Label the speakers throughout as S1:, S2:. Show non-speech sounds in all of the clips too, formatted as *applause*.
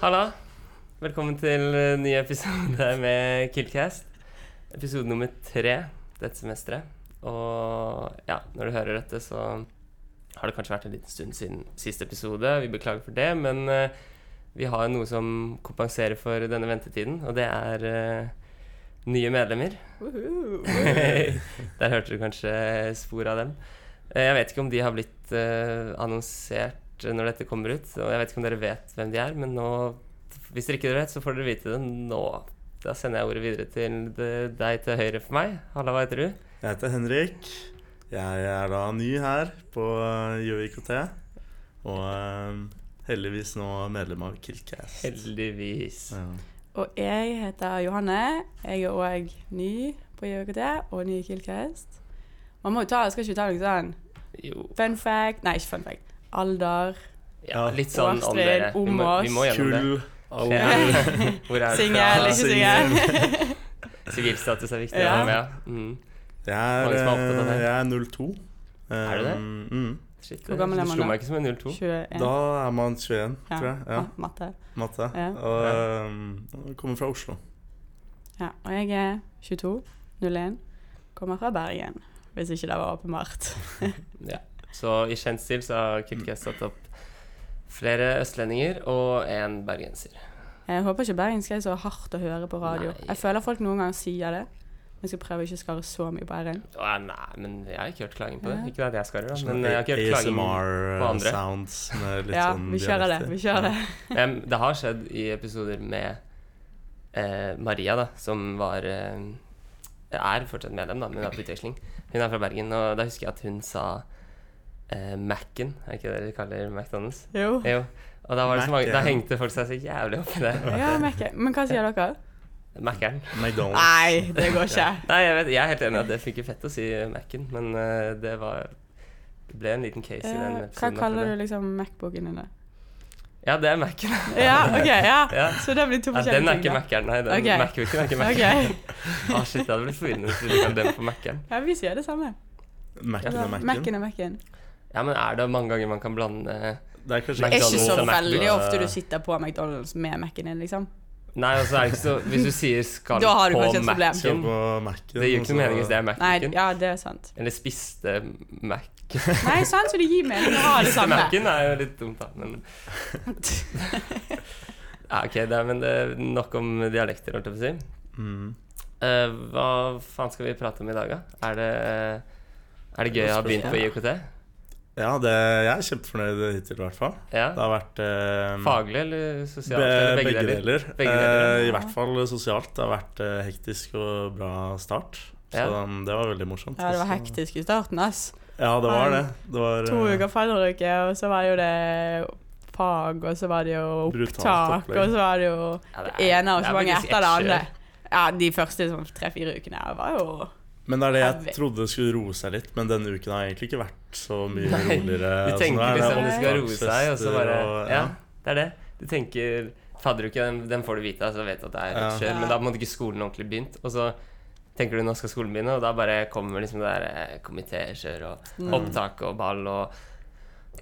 S1: Halla. Velkommen til eh, ny episode *laughs* med Killcast. Episode nummer tre dette semesteret. Og ja, når du hører dette, så har det kanskje vært en liten stund siden siste episode. Vi beklager for det, men eh, vi har noe som kompenserer for denne ventetiden, og det er eh, nye medlemmer. *laughs* Der hørte du kanskje spor av dem. Eh, Jeg vet ikke om de har blitt eh, annonsert når dette kommer ut, og jeg vet ikke om dere vet hvem de er, men nå, hvis dere ikke vet, så får dere vite det nå. Da sender jeg ordet videre til det- deg til høyre for meg. Halla, hva heter du?
S2: Jeg heter Henrik. Jeg er da ny her på eh, JoIKT. Og eh, heldigvis nå medlem av Killcast.
S1: Heldigvis.
S2: Ja.
S3: Og jeg heter Johanne. Jeg er òg ny på JKT og ny i Killcast. Man må jo ta, skal ikke ta noe sånn
S1: Jo.
S3: fun fact Nei, ikke fun fact. Alder,
S1: Ja,
S2: Ja.
S1: litt sånn om
S3: Astrid,
S1: dere. Vi må,
S3: om
S1: vi må
S3: oss.
S1: gjennom det.
S2: Kull.
S1: Ja. *laughs*
S2: Alder.
S1: Hvor er du
S3: singel,
S1: fra?
S3: ikke singel.
S1: Sivilstatus er viktig. å
S3: liksom. Ja.
S1: ha med, Ja. Mm.
S2: *laughs* Jeg
S1: Mange som er
S2: er,
S1: opptatt av
S2: eh,
S1: det.
S2: jeg er 02.
S1: Er du det?
S2: Um, Mm.
S1: Shit,
S3: Hvor gammel er
S1: du
S3: man
S1: slo
S3: da?
S1: meg ikke som en 02.
S3: 21.
S2: Da er man 21,
S3: Ja.
S2: tror jeg. Ja,
S3: Ma- Matte.
S2: Matte.
S3: Ja.
S2: Og
S1: Ja.
S2: eh, kommer fra Oslo.
S3: Ja, og jeg er 22, 01, kommer fra Bergen. Hvis ikke det var åpenbart.
S1: Så i kjent stil så har Kiltcast satt opp flere østlendinger og en bergenser.
S3: Jeg håper ikke bergensk er så hardt å høre på radio.
S1: Nei.
S3: Jeg føler folk noen ganger sier det. Men jeg skal prøve ikke å skare så mye på r-en.
S1: Å, nei, men jeg har ikke hørt klaging på det.
S3: Ja.
S1: Ikke at jeg skal gjøre det, men jeg har ikke hørt klaging på andre.
S2: ASMR-sounds eh,
S1: *laughs*
S2: med litt
S3: Ja,
S2: sånn
S3: vi kjører det.
S2: dialekter.
S3: Vi kjører det.
S1: Em, det har skjedd i episoder med eh, Maria, da, som var eh, Er fortsatt medlem, da, men hun er på utveksling. Hun er fra Bergen, og da husker jeg at hun sa eh, Mac-en. Er ikke det de kaller McDonald's?
S3: Jo.
S1: Jo. Og da, var det så mange, da
S2: Mac-en.
S1: hengte folk seg så jævlig opp i det.
S3: *laughs* Ja, merker. jeg. Men hva sier dere?
S1: Mac-en.
S2: McDonald's.
S3: Nei, det går ikke.
S1: Nei, jeg, vet, jeg er helt enig i at det funker fett å si Mac-en, men eh, det var Det ble en liten case i den
S3: Ja,
S1: episoden.
S3: Eh, Hva kaller
S1: akkurat
S3: du liksom Macbooken din? da?
S1: det. Ja, det er Mac-en.
S3: Ja, ok, ja.
S1: Ja.
S3: Så det blir
S1: *laughs*
S3: to
S1: Ja,
S3: forskjellige
S1: den er
S3: ting.
S1: ikke
S3: da.
S1: Mac-en, nei. Den
S3: Ok.
S1: Mac-en er ikke Mac-en.
S3: Ok.
S1: Ah, shit, det hadde blitt forvirrende hvis vi kalte den for Mac-en.
S3: Ja, vi sier det samme.
S2: Mac-en
S3: Ja,
S2: og Mac-en.
S3: Mac-en er Mac-en.
S1: Ja, men er det mange ganger man kan blande
S2: Det er
S1: Det
S2: kanskje
S1: er ikke så
S2: lov-
S1: veldig
S3: sitter på McDonald's med Mac-en din, liksom.
S1: Nei, altså, er det ikke så Hvis du sier skal
S3: Da har du
S1: på
S3: kanskje et problem.
S2: Skal
S1: Mac-en
S2: på Mac-en. altså.
S1: Det gir jo ikke noe
S2: og så-
S1: mening hvis det er
S3: Nei,
S1: Mac-en.
S3: ja, det er sant.
S1: Eller spiste Mac.
S3: Nei, sant, så det gir mening å ha
S1: *laughs*
S3: det
S1: Spiste
S3: samme.
S1: Mac-en er jo litt dumt, da, men ja, OK, det er, men det er nok om dialekter, holdt jeg på å si.
S2: Mm.
S1: Eh, hva faen skal vi prate om i dag, da? Er det, er det gøy å ha begynt på IOKT?
S2: Ja, det, jeg er kjempefornøyd hittil, i hvert fall. Det
S1: Ja.
S2: har vært eh,
S1: Faglig eller
S2: be,
S1: sosialt? Eller
S2: begge, deler.
S1: Begge deler,
S2: Eh,
S3: ja.
S2: I hvert fall sosialt. Det har vært eh, hektisk og bra start. Så
S1: Ja.
S2: um, det var veldig morsomt.
S3: Ja, det var
S2: Så-
S3: hektisk i starten, ass.
S2: Ja, det var det. det var,
S3: To
S2: eh,
S3: uker fadderuke, og så var det jo det fag, og så var det jo
S2: Brutalt
S3: opptak,
S2: opplegg.
S3: og så var det jo
S1: Ja, det
S3: det ene og
S1: det
S3: så
S1: er
S3: mange
S1: faktisk
S3: etter det
S1: action.
S3: andre. Ja, de første sånn tre-fire ukene her var jo
S2: Men det er det jeg
S3: Helvete.
S2: trodde skulle roe seg litt, men denne uken har egentlig ikke vært så mye
S1: Nei,
S2: roligere.
S1: Du
S2: Altså, nå
S1: tenker
S2: er det
S1: liksom det skal roe seg, og så bare
S2: og-
S1: Ja, det er det. Du tenker Fadderuke, den, den får du vite, altså vet at det er et
S2: Ja.
S1: kjør, men da måtte ikke skolen ordentlig begynt. Og så tenker du nå skal skolen begynne, og da bare kommer liksom det der eh, komitékjør og
S3: Mm.
S1: opptak og ball og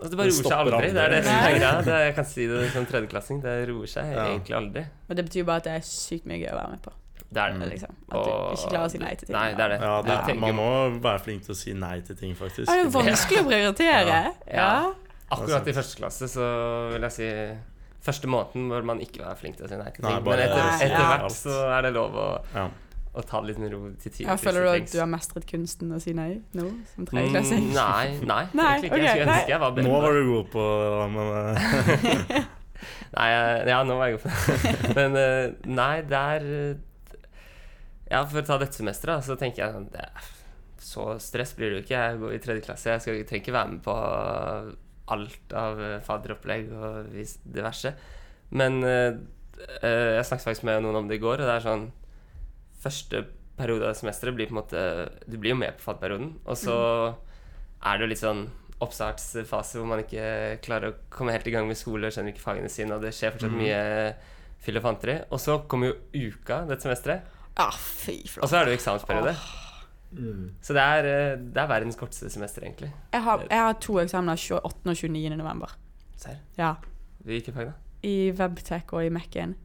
S1: og det bare roer
S2: Det
S1: seg
S2: stopper
S1: aldri. Det er det
S2: aldri.
S1: som er greia. Det- Jeg kan si det som tredjeklassing. Det roer seg
S2: Ja.
S1: egentlig aldri.
S3: Og det betyr bare at det er sykt mye gøy å være med på.
S1: Det er det.
S3: Liksom. At du
S1: Og-
S3: ikke klarer å si nei til ting.
S1: Mm. Nei, det er det.
S2: Ja, det,
S1: Du tenker-
S2: man må være flink til å si nei til ting, faktisk.
S3: Ja, det er vanskelig å prioritere.
S1: Ja.
S3: Ja.
S1: Akkurat i første klasse så vil jeg si Første måneden bør man ikke være flink til å si nei til ting.
S2: Nei,
S1: Men
S2: bare
S1: etter,
S3: si
S1: etter
S3: ja.
S1: hvert så er det lov å,
S2: Ja.
S1: å ta det litt med ro til tider.
S3: Jeg føler du at du har mestret kunsten å si nei nå, som tredjeklassing?
S1: Mm, nei, nei,
S3: *laughs* Nei,
S1: egentlig ikke. Jeg
S3: ok,
S1: skulle
S3: nei.
S1: ønske jeg var bedre.
S2: Nå var du god på det, men eh,
S1: Nei, jeg- ja, nå var jeg god på det. *laughs* Men eh, nei, der eh, Ja, for å ta dette semesteret, da, så tenker jeg sånn det, er- Så stress blir det jo ikke. Jeg går i tredje klasse. Jeg skal jeg trenger ikke være med på eh, alt av eh, fadderopplegg og vis- diverse. Men eh, eh, jeg snakket faktisk med noen om det i går, og det er sånn Første periode av semesteret blir på en måte Du blir jo med på fadderperioden, og så
S3: Mm.
S1: er det jo litt sånn oppstartsfase hvor man ikke klarer å komme helt i gang med skole og skjønner ikke fagene sine, og det skjer fortsatt
S3: Mm.
S1: mye filofanteri. Og så kommer jo uka dette semesteret,
S3: Ja, Ah, fy
S1: og
S3: flate.
S1: så er det jo eksamensperiode. Så det er, eh, det er verdens korteste semester, egentlig.
S3: Jeg, har- jeg har to eksamener 28. og 29. november.
S1: Serr.
S3: Ja.
S1: Hvilke fag, da?
S3: i webtech og i Mac-en.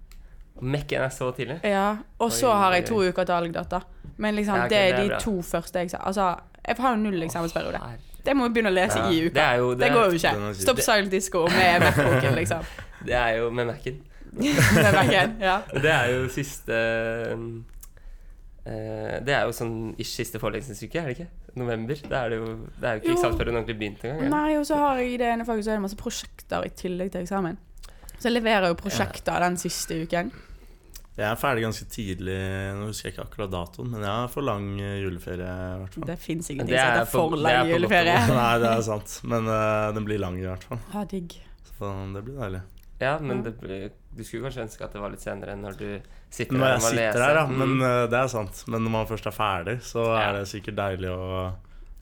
S1: Mekken er så tidlig.
S3: Ja, og så
S1: Oi,
S3: har jeg
S1: oi,
S3: to
S1: oi.
S3: uker dalgdata. Men liksom,
S1: Ja, ok,
S3: det
S1: det er
S3: er de
S1: bra.
S3: to første jeg sa. Altså, jeg har jo null eksamensperiode.
S1: Herre-
S3: Det må vi begynne å lese
S1: Ja,
S3: i uka.
S1: det er jo-
S3: det
S1: det-
S3: går jo
S2: den er
S3: ikke.
S2: kjip.
S3: Stopp silent disco med webboken,
S1: *laughs*
S3: liksom.
S1: Det er jo med Mac-en.
S3: Med Mac-en, ja.
S1: Det er jo siste eh, Det er jo sånn ish siste forelesningsuke, er det ikke? November. Da er det jo, det er jo ikke
S3: Jo.
S1: eksamensperioden ordentlig begynt engang. er det?
S3: Nei, og så har jeg i det ene faget så er det masse prosjekter i tillegg til eksamen. Så jeg leverer jo prosjekter den siste uken.
S2: Jeg er ferdig ganske tidlig. Nå husker jeg ikke akkurat datoen, men jeg har for lang eh, juleferie. i hvert fall.
S3: Det fins ingenting
S1: Det
S3: som
S1: er
S3: heter
S1: på-
S3: for
S1: det er
S3: lang
S1: på godt og *laughs*
S3: juleferie.
S2: Nei, det er sant, men eh, den blir lang i hvert fall.
S3: Ha Ah, digg.
S2: Så det blir deilig.
S1: Ja, men
S3: Ja.
S1: det, blir- du skulle kanskje ønske at det var litt senere enn når du sitter
S2: Når
S1: her
S2: jeg
S1: og må lese.
S2: sitter her, da.
S1: Mm.
S2: Men eh, det er sant. Men når man først er ferdig, så
S1: Ja.
S2: er det sikkert deilig å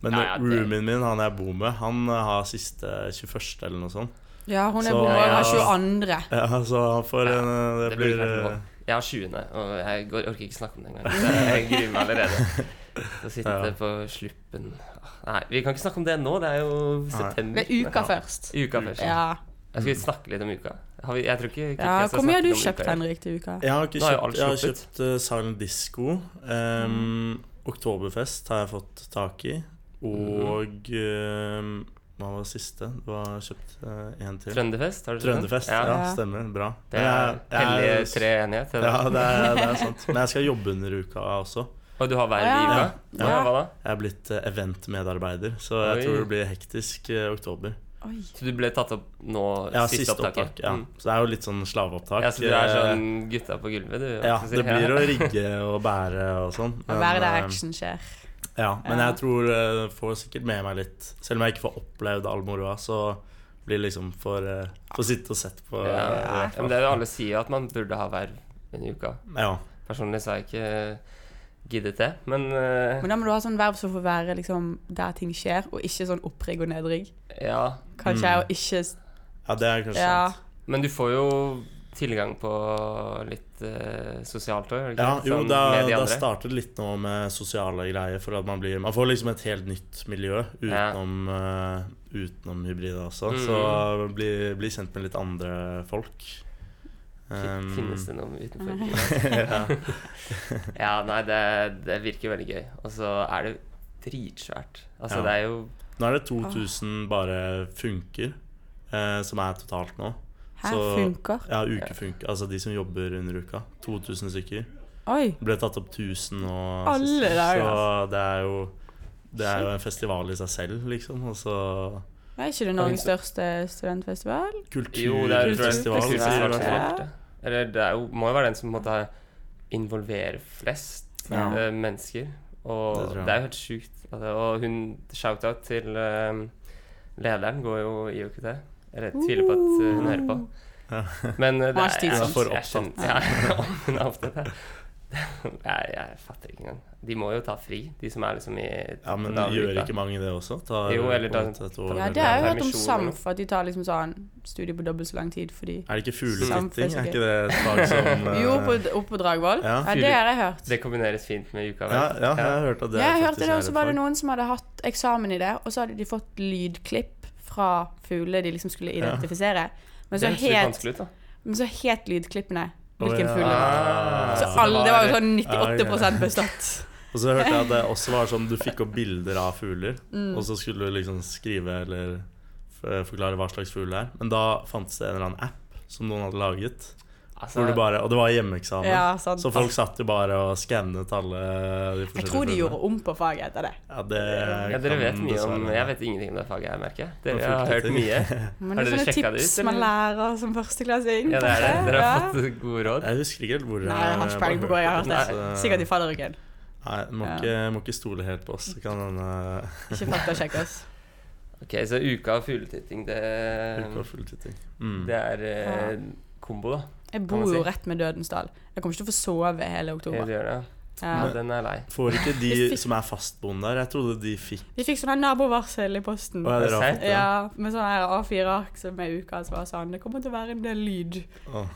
S2: Men
S1: Ja, ja, det-
S2: roomien min, han jeg bor med, han eh, har siste 21. eller noe sånt.
S3: Ja, hun er
S2: Så-
S3: vår
S1: Ja.
S3: av 22.
S2: Ja, så han får
S1: Ja,
S2: en eh, Det,
S1: det blir
S2: blir
S1: kanskje
S2: eh,
S1: Jeg har 20., og jeg går, orker ikke snakke om det engang. Så Jeg gruer meg
S2: *laughs*
S1: allerede. Så sitter
S2: Ja.
S1: det på sluppen Nei, vi kan ikke snakke om det nå. Det er jo september.
S3: Det er uka først.
S1: Uka først.
S3: Ja.
S1: Jeg skulle snakke litt om uka. Har vi, jeg tror ikke
S3: ja.
S1: Kristian skal
S3: Hvor mye
S1: snakke
S3: har du
S1: om uka
S3: kjøpt,
S1: i dag.
S3: Henrik, til uka?
S2: Jeg har ikke
S1: Nå har jo alt
S2: kjøpt, jeg har
S1: sluppet.
S2: kjøpt eh, Silent Disco. Um, Oktoberfest har jeg fått tak i.
S1: Mm.
S2: Og um, hva var det siste? Du har kjøpt én til.
S1: Trønderfest? Har du kjøpt den?
S2: Trønderfest. Ja.
S1: Ja.
S3: Ja.
S2: stemmer. Bra.
S1: Det er hellige treenighet.
S2: Ja,
S1: Ja.
S2: det er, det er sant. Men jeg skal jobbe under uka også.
S1: Og du har hver
S3: Ja.
S1: i uka?
S3: Ja.
S1: Ja. Hva da?
S2: Jeg er blitt eh, eventmedarbeider, så jeg
S1: Oi.
S2: tror det blir hektisk eh, oktober.
S3: Oi.
S1: Så du ble tatt opp nå,
S2: Ja,
S1: siste, opptaket?
S2: ja.
S1: Mm.
S2: Så det er jo litt sånn slaveopptak.
S1: ja, så du er
S2: Eh,
S1: sånn gutta på gulvet, du?
S2: ja,
S1: hva skal
S2: det
S1: jeg si? *laughs*
S2: blir å rigge og bære og sånn.
S3: Å være der
S2: eh,
S3: action skjer.
S2: Ja, men
S3: Ja.
S2: jeg tror jeg får sikkert med meg litt Selv om jeg ikke får opplevd all moroa, så blir det liksom for eh, Får sitte og sett på
S1: ja.
S2: eh, i
S1: Men
S2: hvert fall.
S1: det er jo alle sier jo at man burde ha hver en uke.
S2: Ja.
S1: Personlig så har jeg ikke giddet det, men eh,
S3: Men da må du ha sånn verv som får være liksom, der ting skjer, og ikke sånn opprigg og nedrigg.
S1: ja.
S3: Kanskje
S1: Mm.
S3: jeg og ikke
S2: ja, det er kanskje
S3: Ja.
S2: sant.
S1: Men du får jo tilgang på litt eh, sosialt òg, gjør du
S2: Ja,
S1: ikke? det?
S2: jo,
S1: Sånn
S2: da,
S1: med de
S2: da
S1: andre.
S2: startet litt nå med sosiale greier, for at man blir Man får liksom et helt nytt miljø
S1: Ja.
S2: utenom, eh, utenom hybrida også.
S1: Mm.
S2: Så bli, bli kjent med litt andre folk.
S1: Fin-
S2: Um,
S1: Finnes det noe utenfor?
S3: Nei.
S1: *laughs*
S2: ja.
S1: Ja, nei, det, det virker veldig gøy. Og så er det dritsvært. Altså,
S2: Ja.
S1: det er jo
S2: Nå er det 2000 bare funker, eh, som er totalt nå.
S3: Her
S2: Så-
S3: funker.
S2: Ja, ukefunke. Altså de som jobber under uka. 2000 stykker.
S3: Oi.
S2: Det ble tatt opp 1000 og
S3: Alle altså.
S2: sist,
S3: dager,
S2: Så det er jo Det er jo en festival i seg selv, liksom. Og så
S3: Er ikke det Norges største studentfestival?
S1: Jo, det er jo
S2: kulturfestival. sier
S3: Kulturfestival,
S1: kulturfestival
S2: de
S1: som
S2: i hvert fall.
S1: er størst, ja. Eller det er jo, må jo være den som på en måte involverer flest
S2: Ja.
S1: eh, mennesker. Og
S2: Det
S1: det,
S2: tror jeg.
S1: er jo helt sjukt. at det- Og hun shout-out til eh, lederen går jo i UKT. Eller jeg tviler på at eh, hun hører på.
S2: Ja.
S1: Men eh, det
S3: Hun er så
S1: jeg-
S3: tidsom. Hun
S2: er for
S1: jeg skjønner- Ja, *laughs* hun er opptatt. ja. Jeg, jeg fatter ikke engang. De må jo ta fri, de som er liksom i
S2: Ja, men
S1: da-
S2: gjør
S1: uka.
S2: ikke mange det også? Tar
S1: Jo, eller
S2: på en
S1: da-
S2: måte et år,
S1: Ja,
S3: Ja,
S2: eller-
S3: det har jeg hørt om
S1: permisjon eller noe.
S3: SAMF, at de tar liksom sånn studie på dobbelt så lang tid fordi
S2: Er det ikke fugleflytting? Er
S3: Samfunnsfestival.
S2: ikke det et fag som eh,
S3: Jo, på, opp på Dragvoll.
S2: Ja.
S3: Ja, det har jeg hørt.
S1: Det kombineres fint med uka. vel?
S2: ja, ja, jeg har hørt at det
S3: Jeg har hørt
S2: faktisk
S3: det,
S2: er
S3: og
S2: et
S3: så var det
S2: fag.
S3: noen som hadde hatt eksamen i det, og så hadde de fått lydklipp fra fugler de liksom skulle
S2: Ja.
S3: identifisere. Men
S1: Det
S3: så
S1: høres litt
S3: het,
S1: vanskelig ut, da.
S3: men så het lydklippene
S2: Å,
S3: hvilken
S2: ja.
S3: fugl det var.
S1: Ah.
S3: Så
S1: Så det Ah,
S3: alle, det var jo
S1: var-
S3: sånn 98
S1: *laughs*
S3: bestått.
S2: Og så hørte jeg at det også var sånn du fikk opp bilder av fugler,
S3: Mm.
S2: og så skulle du liksom skrive eller f- eh, forklare hva slags fugl det er. Men da fantes det en eller annen app som noen hadde laget.
S1: Altså,
S2: Hvor du bare, og det var hjemmeeksamen.
S3: Ja, sant.
S2: Så folk satt jo bare og skannet alle de forskjellige
S3: Jeg tror de
S2: fuglene.
S3: gjorde om på faget etter det.
S2: ja, det
S1: ja, dere
S2: kan
S1: vet mye om
S2: dessverre-
S1: Jeg vet ingenting om det faget her, merker jeg. Dere
S2: Det er
S1: har hørt
S2: fullt
S3: *laughs*
S1: mye.
S3: Men
S1: Har
S3: det er
S1: dere
S3: sånne
S1: sjekket det
S3: tips
S1: ut,
S3: man
S1: eller?
S3: lærer som førsteklassing.
S1: Ja, det er det.
S3: kanskje?
S1: Dere har
S3: Ja.
S1: fått gode råd.
S2: *laughs* Jeg husker ikke helt hvor
S3: Nei, jeg har ikke
S2: bare
S3: peiling på hvor jeg har hørt det.
S2: så-
S3: Sikkert i fadderuken.
S2: Nei, må
S3: Ja.
S2: ikke, må ikke stole helt på oss. Det Kan hende
S3: Ikke faktasjekk oss.
S1: Ok, så uka og fugletitting, det,
S2: Fullt og fullt i ting. Mm.
S1: Eh, det er eh, kombo, da.
S3: Jeg
S1: Kan
S3: bor
S1: man
S3: jo
S1: si.
S3: rett med Dødens dal. Jeg kommer ikke til å få sove hele
S1: Det du
S3: oktober.
S1: gjør, ja.
S3: Ja.
S1: ja. Den er lei.
S2: Får ikke
S3: Vi
S2: de
S3: fikk-
S2: som er fastboende der Jeg trodde de fikk
S3: Vi fikk sånn her nabovarsel i posten.
S2: Å, ja, dere har
S1: Serr?
S2: fått det?
S3: Ja, med sånn her A4-ark som er uka som var sånn Det kommer til å være en del lyd.
S2: Åh.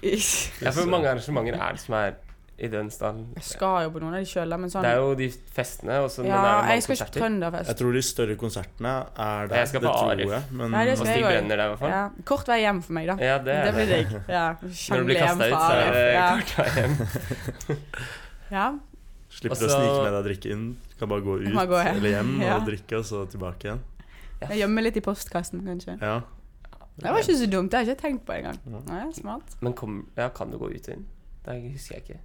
S3: I-
S1: Ja, for hvor mange arrangementer er det som er i den stand.
S3: Jeg skal jo på noen av de sjøl, men sånn
S1: Det er jo de festene, og så men er
S3: Ja,
S1: det mange
S3: jeg skal ikke på
S1: konserter.
S3: trønderfest.
S2: Jeg tror de større konsertene er der.
S1: Jeg skal
S2: det
S1: på
S2: tror
S1: Arif.
S2: jeg. Men
S3: Nei, det
S1: Og
S3: skal
S1: Stig
S3: jeg også.
S1: Brenner der, i hvert fall.
S3: Ja. Kort vei hjem for meg, da.
S1: Ja, det,
S3: Det
S1: er det.
S3: blir digg. Ja.
S1: Når du
S3: Sjangle
S1: blir
S3: hjem
S1: kasta ut,
S3: fra
S1: så er det
S3: Arif. ja.
S1: kort vei hjem.
S3: ja.
S2: slipper
S1: Også-
S2: å snike med deg drikke inn. Du kan bare gå ut
S3: Bare gå hjem.
S2: eller hjem
S3: Ja.
S2: og drikke, og så tilbake igjen.
S3: Jeg gjemmer litt i postkassen, kanskje.
S2: Ja.
S3: Det var ikke så dumt. Det har jeg ikke tenkt på engang. Nei, smart.
S1: Men kom, ja, kan du gå ut og inn? Det husker jeg ikke.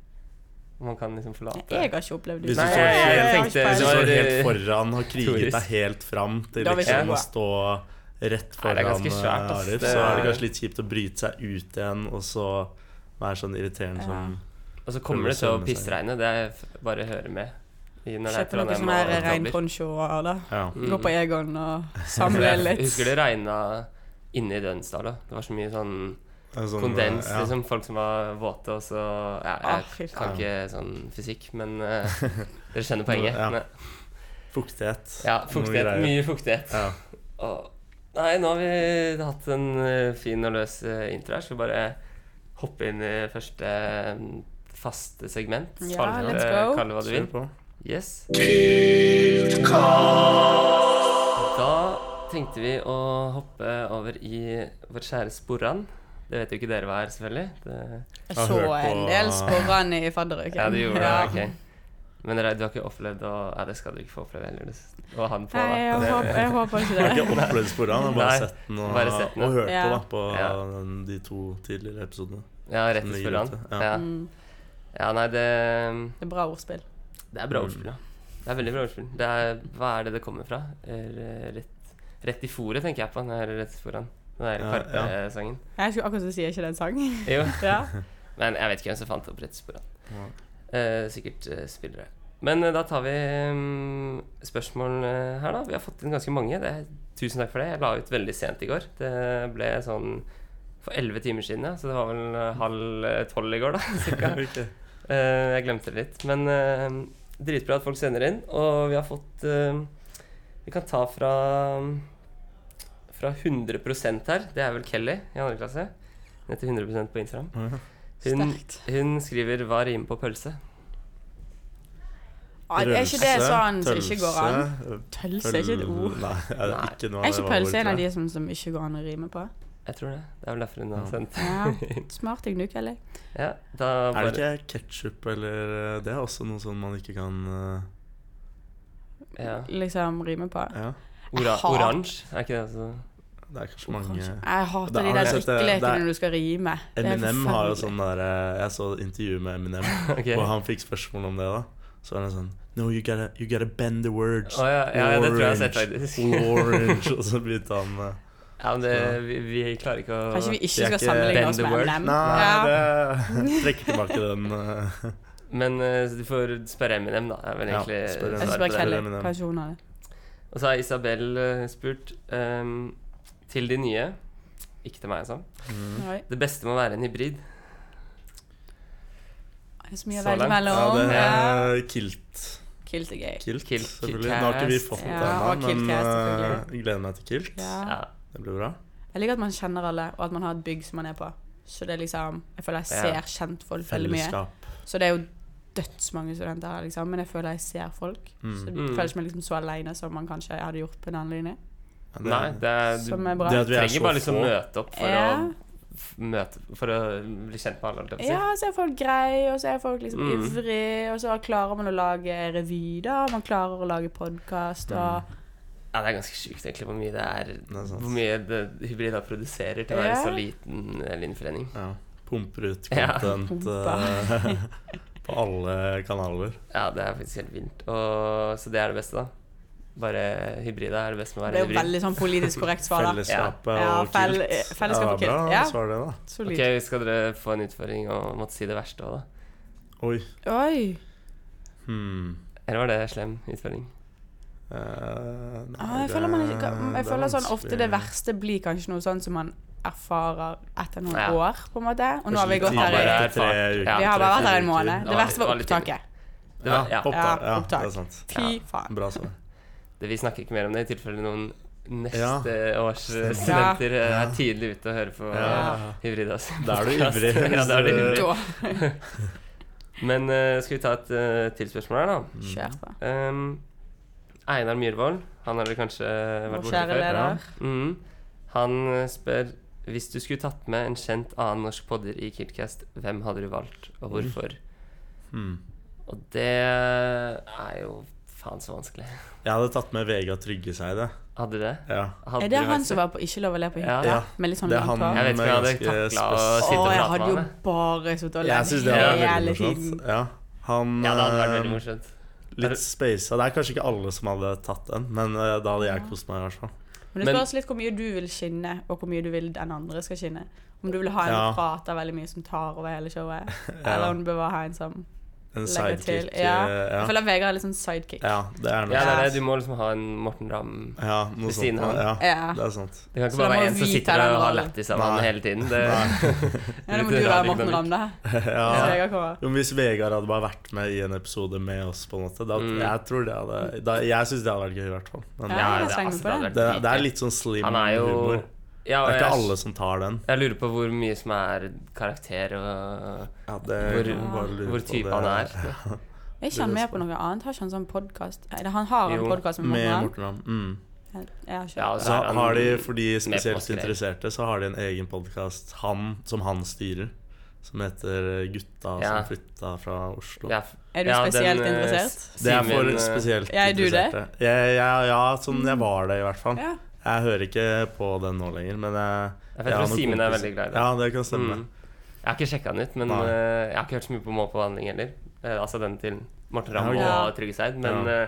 S1: Om Man kan liksom forlate
S3: Jeg har ikke opplevd det.
S2: Hvis du
S1: Nei,
S2: står
S1: jeg, jeg,
S2: helt-
S1: tenkte
S2: Hvis
S1: det
S2: du
S1: var-
S2: står helt foran, har kriget
S1: Tourist.
S2: deg helt fram til
S3: Da vil ikke
S2: liksom å
S3: jeg
S2: stå rett
S1: Nei, det er
S2: foran
S1: ganske svært,
S2: eh,
S1: ass.
S2: Arif,
S1: Det
S2: så er det
S1: er-
S2: kanskje litt kjipt å bryte seg ut igjen, og så være sånn irriterende som
S1: Og så kommer det til å pissregne. Det er f- bare å høre med. i- Når det er
S3: Kjøpe noe
S1: Trondheim
S3: sånn her
S1: og
S3: rein
S1: Drammer.
S3: poncho-år, da.
S2: Ja.
S1: Mm.
S3: Gå på Egon
S2: *laughs*
S3: og
S1: For
S3: samle
S1: jeg
S3: litt.
S1: husker det regna inne i Dønsdal. da. Det var så mye sånn
S2: En sånn,
S1: kondens.
S2: ja.
S1: liksom Folk som var våte, og så ja,
S3: Ah, fy
S1: Jeg kan
S2: faen.
S1: ikke sånn fysikk, men
S2: *laughs*
S1: eh, dere skjønner poenget.
S2: Ja.
S1: Men,
S2: Fuktighet.
S1: ja,
S2: Noen
S1: fuktighet.
S2: greier.
S1: Mye fuktighet.
S2: Ja.
S1: Åh. Nei, nå har vi hatt en eh, fin og løs eh, intro her. Skal bare hoppe inn i første eh, faste segment.
S3: Ja,
S1: Kall det-
S3: let's go.
S1: Kall det hva du vil.
S2: Kjør på.
S1: Yes. Da tenkte vi å hoppe over i vår kjære Sporran. Det vet jo ikke dere hva er, selvfølgelig. Det,
S3: Jeg
S2: har
S3: så
S2: hørt på-
S3: en del sporene i fadderuken.
S1: ja, du gjorde det,
S3: Ja.
S1: ok. Men dere, du har ikke opplevd å Ja, det skal du ikke få oppleve heller. du- Å ha den på,
S3: Nei,
S1: da.
S3: jeg
S1: Det-
S3: håper, jeg håper
S2: Jeg *laughs*
S3: ikke
S2: har
S3: det.
S2: ikke opplevd sporene, jeg har bare
S1: Nei,
S2: sett den og,
S1: bare sett den.
S2: og hørt
S3: Ja.
S2: på, da, på
S1: Ja.
S2: den- de to tidligere episodene.
S1: Ja, rett i
S2: Ny
S1: Sporran.
S2: rute, ja.
S1: Ja.
S3: Mm,
S1: ja, nei, det
S3: det er bra ordspill.
S1: Det er bra
S2: Mm.
S1: ordspill, ja. Det er veldig bra ordspill. Det er, hva er det det kommer fra? Er, eh, Rett, rett i fòret, tenker jeg på. Den her rett foran. Den der
S2: Ja,
S1: Karpe-sangen.
S3: Jeg skulle akkurat til å si er ikke det
S2: *laughs*
S3: en sang.
S1: Jo,
S3: Ja.
S1: men jeg vet ikke hvem som fant opp rett foran.
S2: Ja.
S1: Eh, sikkert eh, spillere. Men eh, da tar vi mm, spørsmål eh, her, da. Vi har fått inn ganske mange. Det, er- tusen takk for det. Jeg la ut veldig sent i går. Det ble sånn for elleve timer siden, ja. Så det var vel eh, halv eh, tolv i går, da. Cirka.
S2: Ok.
S1: Eh, jeg glemte det litt. Men eh, dritbra at folk sender inn. Og vi har fått eh, Vi kan ta fra Fra 100 her. Det er vel Kelly i andre klasse. Hun heter 100 på Instagram.
S2: Ja.
S1: Hun,
S3: Sterkt.
S1: hun skriver 'Hva rimer på pølse'?
S3: Ah, Er ikke det
S2: Rølse,
S3: sånn som ikke går an?
S2: pølse,
S3: Tølse er ikke et
S2: pøl-
S3: ord.
S2: Nei, det er ikke noe
S3: Er ikke pølse en av
S2: de
S3: de som, som ikke går an å rime
S2: *laughs*
S3: på?
S1: Jeg tror det. Det er vel derfor hun har
S2: Ja.
S1: sendt.
S3: Ja. Smart jeg nuker, eller?
S1: Ja, da
S2: Er
S1: bare,
S2: det ikke ketsjup eller eh, Det er også noe sånn man ikke kan eh,
S1: ja.
S3: Liksom rime på.
S2: Ja,
S1: Ora,
S3: Jeg hater-
S1: oransje? Er ikke det altså
S2: det er kanskje mange
S3: Jeg hater
S2: Det
S3: de
S2: har
S3: der
S2: jeg sett, det- det
S3: drikkelekene
S2: er-
S3: når du skal rime. Det er
S2: Eminem har jo
S3: forferdelig.
S2: sånn derre Jeg så et intervju med Eminem,
S1: *laughs* Ok.
S2: og han fikk spørsmål om det, da. Så var han sånn No, you gotta, you gotta bend the words.
S1: Å ja, ja, det tror jeg jeg har sett, faktisk.
S2: Orange, og så begynte han eh,
S1: *laughs* Ja, men det, vi, vi klarer ikke å
S3: Kanskje vi ikke
S2: Det er
S3: skal
S2: ikke
S3: sammenligne
S1: Bend
S3: oss
S1: the
S3: med
S1: Word.
S3: Eminem?
S2: Nei,
S3: Ja.
S2: det trekker tilbake den. eh,
S1: Men eh, så du får spørre Eminem, da. Er vel
S2: Ja,
S1: egentlig
S2: spør Eminem.
S3: Jeg
S1: svaret på
S3: skal spørre
S1: det.
S2: Kelly.
S3: Kelly.
S2: Eminem.
S3: Kanskje hun har det.
S1: Og så har Isabel eh, spurt ehm, til de nye Ikke til meg, altså.
S2: mm.
S3: Oi,
S1: Det beste må være en hybrid.
S3: det er så mye å
S1: Så
S3: velge
S1: langt.
S2: Ja,
S3: mellom.
S2: det
S3: Ja.
S2: er kilt.
S3: Kilt er gøy.
S2: Kilt,
S1: Kilt,
S2: selvfølgelig. Nå har ikke vi
S1: Kiltcast.
S2: fått
S3: Ja,
S2: det ennå,
S3: og
S2: men
S3: Kiltcast,
S2: eh,
S3: selvfølgelig.
S2: jeg gleder meg til Kilt.
S1: Ja.
S3: Ja.
S2: Det blir bra.
S3: Jeg liker at man kjenner alle, og at man har et bygg som man er på. Så det er liksom Jeg føler jeg
S1: Ja.
S3: ser kjentfolk veldig mye.
S2: Fellesskap.
S3: Så det er jo dødsmange studenter her, liksom, men jeg føler jeg ser folk. Så det
S1: Mm.
S3: føles ikke meg liksom så aleine som man kanskje hadde gjort på en annen linje.
S2: Ja, det-
S1: Nei, det er, du
S3: Som er bra.
S2: det at vi er
S1: trenger
S2: så
S1: bare liksom
S2: få.
S1: møte opp for,
S3: Ja.
S1: å f- møte, for å bli kjent med alle. holdt jeg på å si.
S3: Ja, så er folk greie, og så er folk liksom
S1: Mm.
S3: ivrige, og så klarer man å lage revy, da, og man klarer å lage podkast,
S1: Mm.
S3: og
S1: Ja, det er ganske sjukt egentlig hvor mye det er,
S2: er sant.
S1: hvor mye det hybrida produserer til å være
S3: Ja.
S1: så liten eh, linforening.
S2: Ja. Pumper ut
S1: Ja.
S2: content
S3: Pumper.
S2: eh, *laughs* på alle kanaler.
S1: Ja, det er faktisk helt vilt. Og, så det er det beste, da. Bare hybrida er det beste med å
S3: Det
S1: være
S3: er jo
S1: hybrid.
S3: veldig sånn politisk korrekt svar, da.
S2: Fellesskapet
S3: Ja,
S2: og
S3: fell- eh,
S2: Kilt.
S3: fellesskap og
S2: det var Bra
S3: Kilt, ja.
S2: svar, det, da.
S3: Solid.
S1: Ok, Skal dere få en utfordring og måtte si det verste òg, da?
S2: Oi.
S3: Oi.
S2: Hmm.
S1: Eller var det slem utfordring?
S2: Eh, nei,
S3: Ah, jeg
S2: det-
S3: føler, man, ikke-
S2: det er
S3: jeg føler sånn ofte
S2: vanskelig.
S3: det verste blir kanskje noe sånn som man erfarer etter noen
S1: Ja.
S3: år, på en måte. Og nå har vi
S2: Kanskje
S3: gått
S2: litt
S3: her
S1: tidligere.
S3: i
S2: tidligere, tre uker,
S1: Ja,
S3: Vi har bare vært her en
S2: tre-fire uker.
S3: måned.
S1: Det
S3: Det
S1: var-
S3: verste var
S1: det var litt
S3: opptaket.
S1: Det var, ja.
S2: ja, opptak.
S3: Ja,
S2: Ja,
S3: opptak.
S2: det er sant.
S3: Fy faen.
S2: Bra svar.
S1: Det, vi snakker ikke mer om det i tilfelle noen neste års eh,
S2: Stemmer.
S1: studenter eh,
S2: Ja.
S1: er tidlig ute og hører på eh,
S2: Ja.
S1: Hybridas.
S2: Da er du
S1: *laughs*
S2: ivrig.
S1: Ja, da er du
S2: hvis, eh,
S1: ivrig.
S3: Da.
S1: Men eh, skal vi ta et eh, til spørsmål her, da?
S2: Mm.
S3: Kjør på.
S1: Ehm, Einar Myhrvold, han har dere kanskje eh, vært
S3: Vår
S1: borti
S3: kjære
S1: før?
S2: ja.
S3: leder.
S1: Mm. Han eh, spør hvis du skulle tatt med en kjent annen norsk podder i Kiltcast, hvem hadde du valgt,
S2: Mm.
S1: og hvorfor?
S2: Hmm.
S1: Og det er jo faen så vanskelig.
S2: Jeg hadde tatt med Vega Tryggeseide.
S1: Hadde det?
S2: Ja.
S1: Hadde
S3: Er det
S1: du
S3: han
S1: faktisk
S3: som var på Ikke lov å le på hytta?
S2: Ja.
S3: Med litt sånn
S2: Det er han
S3: langt hår?
S1: Jeg vet ikke om jeg hadde
S2: med ganske
S1: taklet å
S2: spes-
S1: sitte
S3: Å,
S1: og
S3: jeg
S1: prate
S3: hadde
S1: med
S3: jo
S1: han,
S3: bare sittet
S2: Jeg
S3: og ledd
S2: syns det hadde vært
S3: hele
S2: veldig
S3: tiden.
S2: morsomt. Ja. Han
S1: Ja, det hadde vært veldig
S2: eh,
S1: morsomt.
S2: Litt spasa. Det er kanskje ikke alle som hadde tatt den, men eh, da hadde jeg kost meg. i hvert fall
S3: Men det
S1: Men-
S3: spørs litt hvor mye du vil skinne, og hvor mye du vil den andre skal skinne. Om du vil ha en
S2: Ja.
S3: som prater veldig mye, som tar over hele showet.
S2: Ja.
S3: Eller om du bør ha en som
S2: En
S3: legger til.
S2: sidekick. eh,
S3: Ja. Jeg
S2: Ja.
S3: føler Vegard er litt sånn sidekick.
S2: ja, det er
S1: Ja,
S2: noe
S1: det er
S3: Ja.
S1: det. Du må liksom ha en Morten Ramm
S2: Ja, noe
S1: Ved siden av.
S2: sånt. Ja,
S3: Ja.
S2: det er sant.
S1: Det
S2: *laughs*
S1: kan
S3: Så
S1: ikke
S3: da
S1: bare
S3: må
S1: være en som
S3: vi ta
S1: sitter
S3: den
S1: og har
S3: rollen.
S1: lættis av han
S2: Nei.
S1: hele tiden. Det,
S3: Ja, da må
S1: Litt
S3: du være
S1: rar
S3: Morten
S1: dynamikk.
S3: Ramm, da. Så
S2: Ja.
S3: Vegard kommer.
S2: Jo, men hvis Vegard hadde bare vært med i en episode med oss, på en måte da,
S1: Mm.
S2: Jeg tror det hadde da, Jeg syns det hadde vært gøy, i hvert fall. Men
S3: Ja,
S1: Ja,
S3: da
S1: det-
S3: slenger
S1: altså,
S3: vi på
S1: det
S3: den.
S1: hadde vært
S2: det, det er
S1: dritgøy.
S2: litt sånn slim
S1: Han er jo
S2: humor.
S1: ja,
S2: Det er
S1: jeg-
S2: ikke alle som tar den.
S1: Jeg lurer på hvor mye som er karakter og
S2: Ja, det,
S1: hvor,
S2: kan man bare lure
S1: hvor
S2: på.
S1: type
S2: Det-
S1: han
S2: *laughs*
S1: er.
S3: Er ikke han med på noe annet? Har ikke han sånn podkast? Han har en
S1: Jo,
S3: podkast med
S2: Med
S3: Morten Ramm.
S2: Morten Ramm. Mm.
S3: Jeg har ikke
S1: Ja,
S3: hørt
S1: altså,
S2: Så
S1: Der er han
S2: har de, for de
S1: med på
S2: spesielt
S1: maskering.
S2: interesserte, så har de en egen podkast som han styrer, som heter
S1: Ja.
S2: Gutta som flytta fra Oslo.
S1: Ja,
S3: Er du
S1: ja, den,
S3: spesielt
S1: eh,
S3: interessert?
S2: Det er for
S1: Simen, eh,
S2: spesielt
S3: Ja, er du det?
S2: interesserte. Jeg, jeg, ja, sånn jeg var det, i hvert fall.
S3: Ja.
S2: Jeg hører ikke på den nå lenger, men jeg,
S1: Jeg tror
S2: har noen
S1: Simen er
S2: kompiser-
S1: veldig glad i den.
S2: Ja, det kan stemme.
S1: Mm. Jeg har ikke sjekka den ut, men
S2: Nei.
S1: eh, jeg har ikke hørt så mye på Må på behandling heller. Eh, altså den til Morten Ramm
S2: Ja,
S3: ok.
S1: og Trygve Seid. Men
S2: Ja.
S1: eh,